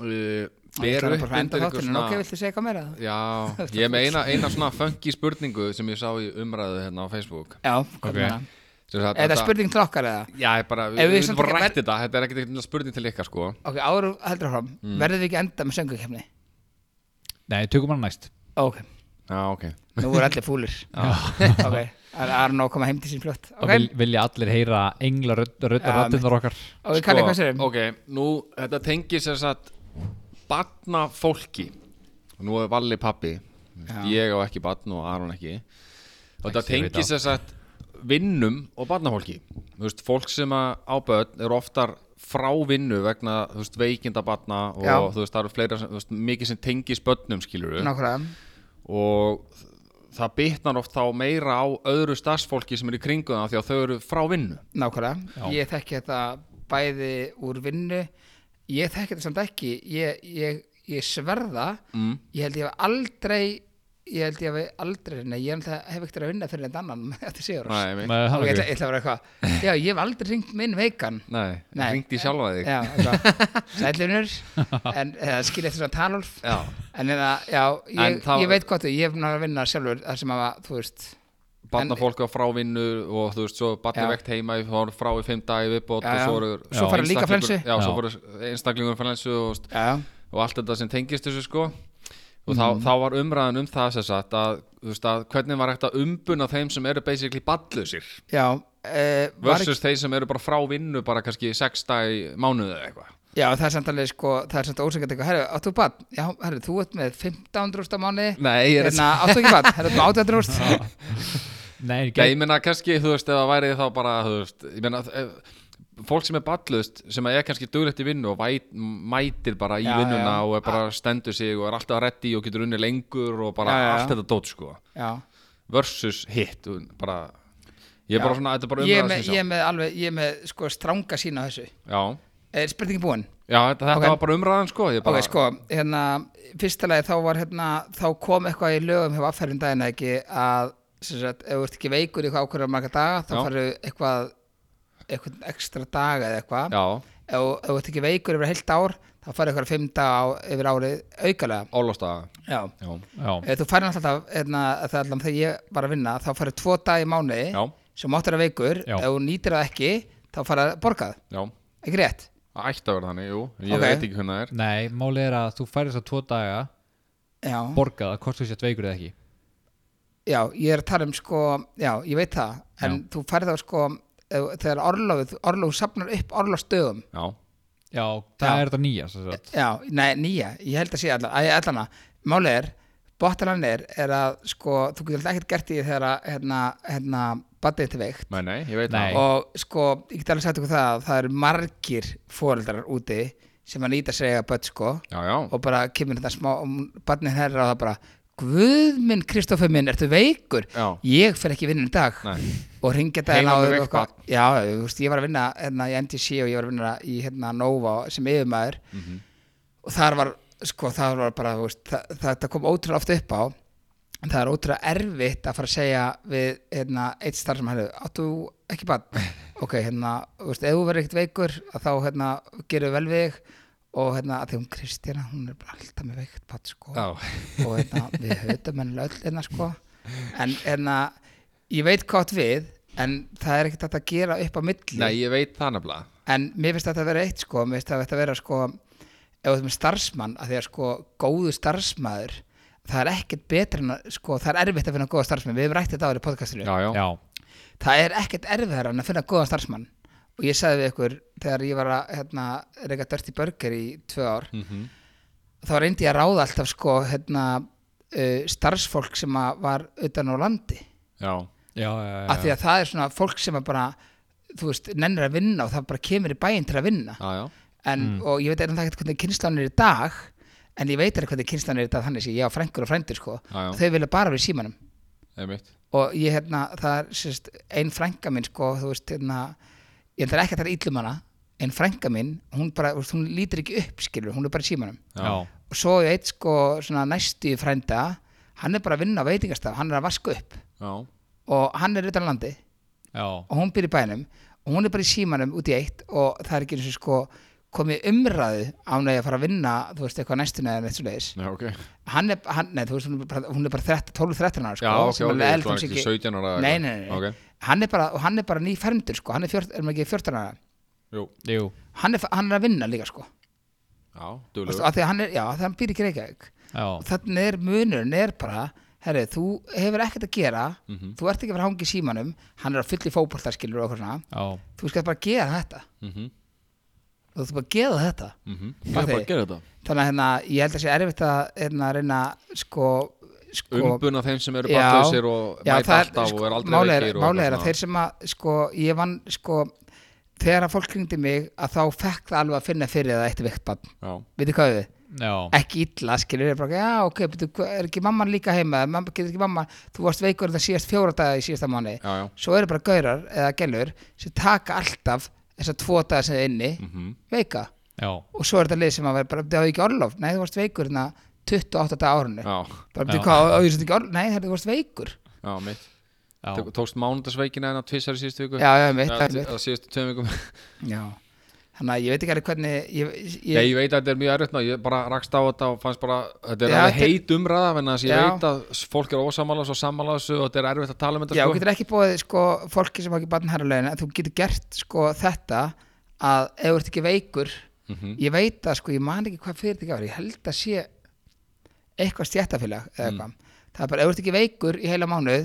[SPEAKER 1] uh,
[SPEAKER 2] Ég
[SPEAKER 1] bera
[SPEAKER 2] ætla
[SPEAKER 1] upp
[SPEAKER 2] bara að enda
[SPEAKER 1] undir ykkur
[SPEAKER 2] þáttunum, ok,
[SPEAKER 1] svona
[SPEAKER 2] viltu segja eitthvað meira?
[SPEAKER 1] Já, ég er með eina, eina svona funky spurningu sem ég sá í umræðu hérna á Facebook
[SPEAKER 2] Já, hvað okay. meira?
[SPEAKER 1] Sem sagt,
[SPEAKER 2] Er það
[SPEAKER 1] þetta-
[SPEAKER 2] spurning til okkar eða?
[SPEAKER 1] Já, ég bara,
[SPEAKER 2] Ef
[SPEAKER 1] við
[SPEAKER 2] við
[SPEAKER 1] við
[SPEAKER 2] samt
[SPEAKER 1] vorum
[SPEAKER 2] ekki-
[SPEAKER 1] rætt þetta, þetta er ekkert eitthvað spurning til ykkar sko
[SPEAKER 2] Ok, áður
[SPEAKER 1] Mm.
[SPEAKER 2] heldur áfram, verðum við ekki að enda með söngukefni?
[SPEAKER 3] Nei, tökum hann næst
[SPEAKER 2] Ok,
[SPEAKER 1] Já, ok
[SPEAKER 2] Nú voru allir fúlir Ok, það er nóg að koma heim til sín flott
[SPEAKER 3] og
[SPEAKER 2] Ok,
[SPEAKER 3] vil, vilja allir heyra engla
[SPEAKER 2] Já,
[SPEAKER 3] röttunar okkar Sko,
[SPEAKER 2] ok, Kalli, hvað sérum?
[SPEAKER 1] Sko, ok, nú þetta tengir sér satt batna fólki og nú er Valli pappi ég á ekki batn og Aron ekki og þetta
[SPEAKER 3] ég veit
[SPEAKER 1] tengir sér satt vinnum og batnafólki þú veist, fólk sem að á börn eru oftar frá vinnu vegna þú veist, veikinda batna og
[SPEAKER 2] Já.
[SPEAKER 1] þú veist, það eru fleira sem, þú veist, mikið sem tengis börnum skilur
[SPEAKER 2] Nákvæmlega
[SPEAKER 1] og þ- það bitnar oft þá meira á öðru starfsfólki sem er í kringu það af því að þau eru frá vinnu
[SPEAKER 2] Nákvæmlega, ég þekki þetta bæði úr vinnu ég þekki þetta samt ekki ég, ég, ég sverða mm. ég held ég hef aldrei ég held ég hef aldrei nei, ég náttúrulega hef ekkert verið að vinna fyrir þetta annan þetta séur
[SPEAKER 1] Nei,
[SPEAKER 2] og
[SPEAKER 1] einmitt.
[SPEAKER 3] með hann
[SPEAKER 2] ég ætla,
[SPEAKER 3] okkur
[SPEAKER 2] ég ætla að vera eitthvað já, ég hef aldrei ringt minn veikan
[SPEAKER 1] Nei,
[SPEAKER 2] Nei.
[SPEAKER 1] hringdi í sjálfa þig
[SPEAKER 2] já, eitthvað, sælunur en eða skilja eftir svona talolf
[SPEAKER 1] Já.
[SPEAKER 2] en eða, já,
[SPEAKER 1] En
[SPEAKER 2] ég,
[SPEAKER 1] það-
[SPEAKER 2] ég veit hvað þú ég hef náttúrulega að vinna sjálfur þar sem að, þú veist
[SPEAKER 1] Barnafólk á frávinnu og þú veist, svo barni
[SPEAKER 2] Já.
[SPEAKER 1] vekt heima þá er frá í fimm dagi viðbót
[SPEAKER 2] Já,
[SPEAKER 1] og
[SPEAKER 2] já.
[SPEAKER 1] svo eru
[SPEAKER 2] Svo fara líka
[SPEAKER 1] einstaklingur-
[SPEAKER 2] flensu.
[SPEAKER 1] Já, svo
[SPEAKER 3] Já.
[SPEAKER 1] fara einstaklingur flensu og, veist,
[SPEAKER 2] já,
[SPEAKER 1] og allt þetta sem tengist þessu sko og þá, þá var umræðan um það sem sagt að, þú veist, að hvernig var hægt að umbuna þeim sem eru basically ballusir
[SPEAKER 2] já eh, var ekki-
[SPEAKER 1] versus þeir sem eru bara frá vinnu bara kannski sex dagi mánuðu eða eitthvað
[SPEAKER 2] Já, það er samt alveg sko, það er samt ósækjandi eitthvað, herru, áttu bann? Já, herru, þú ert með 15 rúst á mánuði.
[SPEAKER 1] Nei, ég er
[SPEAKER 2] Hérna, áttu ekki bann? Herru, þú áttu 800 rúst.
[SPEAKER 3] Nei,
[SPEAKER 1] Nei,
[SPEAKER 3] ég gæti-
[SPEAKER 1] ég meina kannski, þú veist, ef það væri þá bara, þú veist, ég meina, ef, fólk sem er ballust, sem er kannski duglegt í vinnu og væt, mætir bara í
[SPEAKER 2] Já,
[SPEAKER 1] vinnuna
[SPEAKER 2] já.
[SPEAKER 1] og er bara stendur sig og er alltaf reddi og getur unni lengur og bara
[SPEAKER 2] Já, já, já.
[SPEAKER 1] allt þetta dót, sko,
[SPEAKER 2] Já,
[SPEAKER 1] versus hitt, og bara, ég er
[SPEAKER 2] Já.
[SPEAKER 1] bara svona, þetta er bara
[SPEAKER 2] ég er
[SPEAKER 1] umræða
[SPEAKER 2] með,
[SPEAKER 1] sem
[SPEAKER 2] ég er
[SPEAKER 1] sá.
[SPEAKER 2] með alveg, ég er með sko stranga sína á þessu.
[SPEAKER 1] Já,
[SPEAKER 2] Er spurningin búin?
[SPEAKER 1] já, þetta, þetta
[SPEAKER 2] Ok.
[SPEAKER 1] var bara umræðan, sko, ég
[SPEAKER 2] Ok,
[SPEAKER 1] bara,
[SPEAKER 2] sko, hérna, fyrstulega þá var hérna, þá kom eitthvað í lögum hjá afferðin daginn eða ekki að, sem sagt, ef þú ert ekki veikur í eitthvað ákveður marga daga, þá
[SPEAKER 1] Já.
[SPEAKER 2] farðu eitthvað, eitthvað ekstra daga eða eitthvað.
[SPEAKER 1] já,
[SPEAKER 2] Ef þú ef þú ert ekki veikur yfir heilt ár, þá farðu eitthvað fimm daga á- yfir árið aukalega.
[SPEAKER 1] ólástaða,
[SPEAKER 2] Já.
[SPEAKER 1] já,
[SPEAKER 3] já,
[SPEAKER 2] Eh, Þú færi alltaf, hérna, það er alltaf þegar ég var að vinna, þá færi tvo dag í mánuði
[SPEAKER 1] Já.
[SPEAKER 2] sem áttur að veikur,
[SPEAKER 3] Já.
[SPEAKER 2] ef þú nýtir það ekki, þá færi að borgað,
[SPEAKER 1] já,
[SPEAKER 2] ekki rétt?
[SPEAKER 1] það ætti að vera þannig, jú, ég
[SPEAKER 2] Ok.
[SPEAKER 1] veit ekki hvernig það er,
[SPEAKER 3] nei málið er að þú færir þess að tvo daga
[SPEAKER 2] Já,
[SPEAKER 3] borgað að kostu sér tveikur eða ekki
[SPEAKER 2] já, ég er að tala um sko, já, ég veit það, en þú færi þá sko, ef- þegar orlofið, orlofið sapnar upp orlofstöðum,
[SPEAKER 1] já,
[SPEAKER 3] já, það
[SPEAKER 2] Já.
[SPEAKER 3] er þetta nýja sem sagt.
[SPEAKER 2] já, nei, nýja, ég held að sé allan, að allana, málið er, bóttalann er, er að sko, þú getur alltaf ekkert gert í því þegar að, hérna, hérna, badið til veikt.
[SPEAKER 1] nei, nei, ég veit
[SPEAKER 3] Nei.
[SPEAKER 1] það,
[SPEAKER 2] og sko, ég get alveg sagt ykkur það að það eru margir fóreldrar úti sem að nýta sér eiga börn sko
[SPEAKER 1] já, já,
[SPEAKER 2] og bara kemur þetta smá og barnin herra og það bara Guð minn, Kristoffer minn, ertu veikur?
[SPEAKER 1] Já.
[SPEAKER 2] Ég fer ekki vinna í dag
[SPEAKER 1] Nei.
[SPEAKER 2] og ringja þetta
[SPEAKER 1] Heima með
[SPEAKER 2] áður og
[SPEAKER 1] veikt barn.
[SPEAKER 2] eitthvað. Já, þú veist, ég var að vinna hérna, í NTC og ég var að vinna í hérna, Nova sem yfirmaður
[SPEAKER 1] Mhm.
[SPEAKER 2] og þar var, sko, þar var bara þú veist, það, það, það kom ótrúlega oft upp á en það er ótrúlega erfitt að fara að segja við hérna, eitt starf sem hægðu áttu ekki bann ok, hérna, þú veist, ef þú verður ekkert veikur að þá hérna, gerum við vel við þig og hérna, að því hún Kristjana hún er bara alltaf með veikt bann sko.
[SPEAKER 1] Já.
[SPEAKER 2] og hérna, við höfum henni öll hérna, sko. en hérna ég veit hvað átt við en það er ekkert hægt að gera upp á milli
[SPEAKER 1] nei, ég veit það nefnilega,
[SPEAKER 2] en mér finnst þetta að vera eitt sko, mér finnst þetta að vera sko ef þú ert með starfsmann, að því að sko góðu starfsmæður, það er ekkert betra en að, sko, það er erfitt að finna góða starfsmann við hefum rætt þetta áður í podcastinu
[SPEAKER 1] já, já,
[SPEAKER 3] já,
[SPEAKER 2] það er ekkert erfiðar en að finna góða starfsmann og ég sagði við ykkur þegar ég var að hérna, reyka Dirty Burger í tvö ár
[SPEAKER 1] Mhm.
[SPEAKER 2] þá reyndi ég að ráða alltaf sko hérna, uh, starfsfólk sem að var utan á landi
[SPEAKER 1] já.
[SPEAKER 3] já, já,
[SPEAKER 2] af því
[SPEAKER 3] já.
[SPEAKER 2] að það er svona fólk sem að bara þú veist, nennir að vinna og það bara kemur í bæinn til að vinna
[SPEAKER 1] já, Mm. já.
[SPEAKER 2] en, og ég veit eitthvað ekki hvernig kynslan er í dag en ég veit eitthvað hvernig kynslan er í dag þannig sem ég á frængur og frændur sko
[SPEAKER 1] Já, já.
[SPEAKER 2] og þau vilja bara vera í símanum
[SPEAKER 1] Einmitt.
[SPEAKER 2] og ég hérna, það er sérst, ein frænga minn sko, þú veist, hérna ég heldur ekki að það er íllum hana en frænga minn, hún bara, þú veist, hún lítur ekki upp skilur, hún er bara í símanum
[SPEAKER 3] Já.
[SPEAKER 2] og svo er eitt sko, svona næstu frænda hann er bara að vinna á veitingastaf, hann er að vaska upp
[SPEAKER 1] Já.
[SPEAKER 2] og hann er utan á landi
[SPEAKER 3] já.
[SPEAKER 2] og hún býr í bænum og hún er bara í símanum út í eitt og það er ekki eins og sko komið umræðu án að ég að fara að vinna þú veist eitthvað næstunni eða neitt svo leiðis
[SPEAKER 1] Já, ok.
[SPEAKER 2] hann er, hann, nei, þú veist, hún er bara, hún er bara 13, 12, 13 ára sko,
[SPEAKER 1] Já, ok,
[SPEAKER 2] sem
[SPEAKER 1] ok,
[SPEAKER 2] alveg
[SPEAKER 1] ég
[SPEAKER 2] eldum
[SPEAKER 1] ætla
[SPEAKER 2] sig
[SPEAKER 1] ekki 17 ára eða eitthvað.
[SPEAKER 2] nei, nei, nei, nei.
[SPEAKER 1] Ok.
[SPEAKER 2] Hann, er bara, og hann er bara nýfermdur sko, hann er, fjör, er maður ekki 14 ára
[SPEAKER 1] Jú.
[SPEAKER 3] Jú.
[SPEAKER 2] hann er, hann er að vinna líka sko
[SPEAKER 1] Já,
[SPEAKER 2] Þú veist,
[SPEAKER 1] duðlegu.
[SPEAKER 2] af því að hann er, já, það hann býr ekki reykjavík
[SPEAKER 3] já.
[SPEAKER 2] þannig er munurinn er bara herri, þú hefur ekkert að gera
[SPEAKER 1] Mhm.
[SPEAKER 2] þú ert ekki að fara að hanga í símanum hann er að fylla í fótboltaskilur og eitthvað svona
[SPEAKER 3] Já,
[SPEAKER 2] þú skalt bara gera þetta
[SPEAKER 1] Mhm,
[SPEAKER 2] þú skalt bara gera þetta
[SPEAKER 1] Ég er bara að gera þetta
[SPEAKER 2] þannig að hérna, ég held að sé erfitt að hérna, reyna sko, sko
[SPEAKER 1] Umbuna þeim sem eru
[SPEAKER 2] Já.
[SPEAKER 1] baklausir og
[SPEAKER 2] Já,
[SPEAKER 1] mæta
[SPEAKER 2] það
[SPEAKER 1] alltaf og er aldrei
[SPEAKER 2] málið er-
[SPEAKER 1] veikir og
[SPEAKER 2] málið
[SPEAKER 1] eitthvað
[SPEAKER 2] er að
[SPEAKER 1] svona.
[SPEAKER 2] þeir sem að sko, ég vann sko, þegar að fólk hringdi mig að þá fekk það alveg að finna fyrir það eitt veikt bann,
[SPEAKER 1] Já.
[SPEAKER 2] veitir hvað við
[SPEAKER 3] já,
[SPEAKER 2] ekki illa, skilur við bara, já, ok betur, er ekki mamman líka heima, mamma getur ekki mamman þú varst veikur það síðast fjóra daga í síðasta mánu
[SPEAKER 1] Já, já.
[SPEAKER 2] svo eru bara gaurar eða gælur sem taka alltaf þessa tvo daga sem þið er inni, veika
[SPEAKER 3] já
[SPEAKER 2] og svo er þetta lið sem að vera bara, það hafði ekki orlof nei, þú varst veikur hérna 28 daga árunni
[SPEAKER 1] Já,
[SPEAKER 2] bara,
[SPEAKER 3] Já.
[SPEAKER 2] betur, hvað, á, ekki orlof, nei, það þú varst veikur
[SPEAKER 1] já, mitt
[SPEAKER 3] Já,
[SPEAKER 1] Tók- Tókst mánudasveikina en að tvissar í síðustu viku
[SPEAKER 2] já, já, mitt,
[SPEAKER 1] Eða
[SPEAKER 2] það er
[SPEAKER 1] á
[SPEAKER 2] mitt
[SPEAKER 1] síðustu tveim vikum
[SPEAKER 2] já. þannig að ég veit ekki alveg hvernig ég,
[SPEAKER 1] Nei,
[SPEAKER 2] ég,
[SPEAKER 1] ég veit að þetta er mjög erfitt maður, ég bara rakst á þetta og fannst bara, þetta er
[SPEAKER 2] Já,
[SPEAKER 1] alveg
[SPEAKER 2] þetta er-
[SPEAKER 1] heit umræða þannig að ég
[SPEAKER 2] Já.
[SPEAKER 1] veit að s- fólk er ósamála og sammála þessu og þetta er erfitt að tala um þetta
[SPEAKER 2] já, þú
[SPEAKER 1] sko.
[SPEAKER 2] getur ekki bóðið sko, fólki sem hafa ekki barnherralögin en þú getur gert sko þetta að ef þú ert ekki veikur ég veit að sko, ég man ekki hvað fyrir þetta var ég held að sé eitthvað stjættafélag eða eitthvað það er bara, ef þú ert ekki veikur í heila mánuð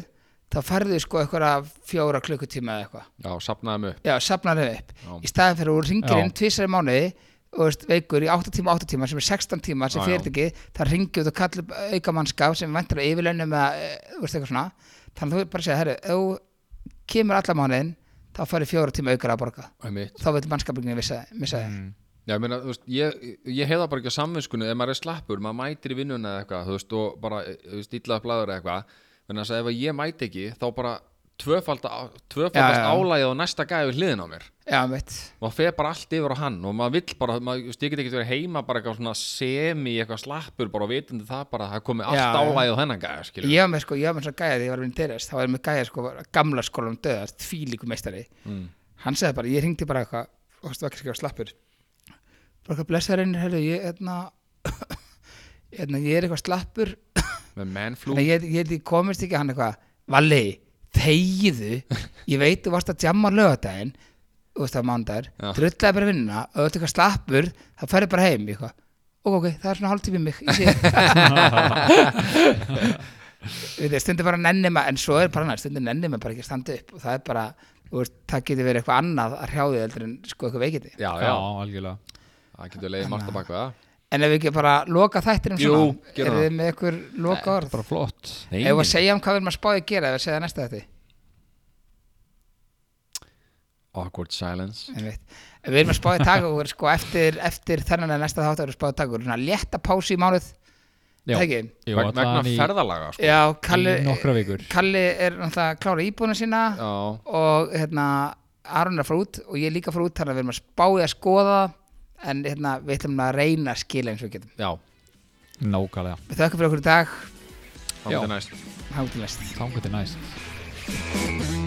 [SPEAKER 2] þá færðu sko eitthvað fjóra klukkutíma eða eitthvað
[SPEAKER 1] Já, sapnaði mig upp.
[SPEAKER 2] já, safnar þeim upp
[SPEAKER 1] Já.
[SPEAKER 2] í staðin fyrir úr ringir
[SPEAKER 3] Já.
[SPEAKER 2] inn tvisar í mánuði og veist, veikur í 8 tíma 8 tíma sem er 16 tíma sem
[SPEAKER 1] Já, já.
[SPEAKER 2] fyrir ekki það ringi út og kalli upp auka mannskap sem vantar að yfirlaunum eða eh, þú veist, eitthvað svona þannig að þú bara segja, herru, ef þú kemur alla mánuðin þá farið fjóra tíma aukar að borga
[SPEAKER 1] Einmitt.
[SPEAKER 2] þá vil mannskapingin missa, missa mm.
[SPEAKER 1] um Já, ég meina, þú veist, ég, ég hef það bara ekki á samvinskunni ef maður er slappur, maður mætir í vinnuna eða eitthvað, þú veist, og bara, eh, þú veist, illað blæður eða eitthvað, þannig að ef að ég mæti ekki, þá bara tvöfalda, tvöfaldast
[SPEAKER 2] Já, já.
[SPEAKER 1] álægið á næsta gæði við hliðin á mér.
[SPEAKER 2] já, mitt
[SPEAKER 1] maður fer bara allt yfir á hann og maður vill bara, maður stikir ekkert verið heima bara eitthvað svona semi, eitthvað slappur bara og vitandi það bara, að það komi
[SPEAKER 2] Já,
[SPEAKER 1] allt
[SPEAKER 2] já.
[SPEAKER 1] álægið á þennan gæða, skilur
[SPEAKER 2] ég var með sko, ég var með svo gæði, ég var með deres þá var ég með gæði sko, gamla skólanum döðast fílíku meistari, hann segði bara ég ringdi bara eitthvað, og það var ekki skrifa slappur bara eitthvað blessaðurinn hefðu, ég, hérna hérna, ég er eitthvað slappur
[SPEAKER 1] með mennflú
[SPEAKER 2] Þannig að ég, ég, held ég komist ekki hann eitthvað Valli, þegiðu ég veit þú varst að jamma á lögadaginn þú veist það mánudagur,
[SPEAKER 1] Já.
[SPEAKER 2] drullaði bara vinnuna og þú ert eitthvað slappur, þá ferðu bara heim ég eitthvað, ok, ok, það er svona hálftími í mig ég sé Við þið, stundum bara nenni maður en svo er bara annað, stundum nenni maður bara ekki að standa upp og það er bara, þú veist, það getur verið eitthvað annað að hrjáði heldur en sko eitthvað veikindi
[SPEAKER 1] já,
[SPEAKER 3] já,
[SPEAKER 1] já,
[SPEAKER 3] algjörlega
[SPEAKER 1] það getur leiðið margt að baka það
[SPEAKER 2] en ef við ekki bara loka þættinum
[SPEAKER 1] Jú,
[SPEAKER 2] svona
[SPEAKER 1] gerum
[SPEAKER 2] eru þið með eitthvað loka orð
[SPEAKER 3] Bara flott
[SPEAKER 2] ef við að segja um hvað við erum að spáði að gera ef við að segja það næsta þetta
[SPEAKER 1] awkward silence
[SPEAKER 2] Einmitt. Við erum að spáði takur sko, eftir, eftir þennan að næsta þátt erum spáði takur svona létta pási í mánuð
[SPEAKER 3] Já,
[SPEAKER 2] Tæki.
[SPEAKER 3] Jú,
[SPEAKER 1] Veg,
[SPEAKER 3] allan
[SPEAKER 1] vegna
[SPEAKER 3] í-
[SPEAKER 1] ferðalaga sko.
[SPEAKER 2] Já, Kalli,
[SPEAKER 3] í nokkra vikur
[SPEAKER 2] Kalli er náttúrulega að klára íbúinu sína
[SPEAKER 1] já,
[SPEAKER 2] og hérna Aron er að fara út og ég er líka að fara út þannig að við erum að spáði að skoða en hérna, við ætlum að reyna að skila eins og við getum
[SPEAKER 1] já,
[SPEAKER 3] Nákvæmlega
[SPEAKER 2] Við þökkum fyrir okkur í dag,
[SPEAKER 1] það
[SPEAKER 3] Já.
[SPEAKER 1] getur næst
[SPEAKER 2] hangum til næst
[SPEAKER 3] Þangur til næst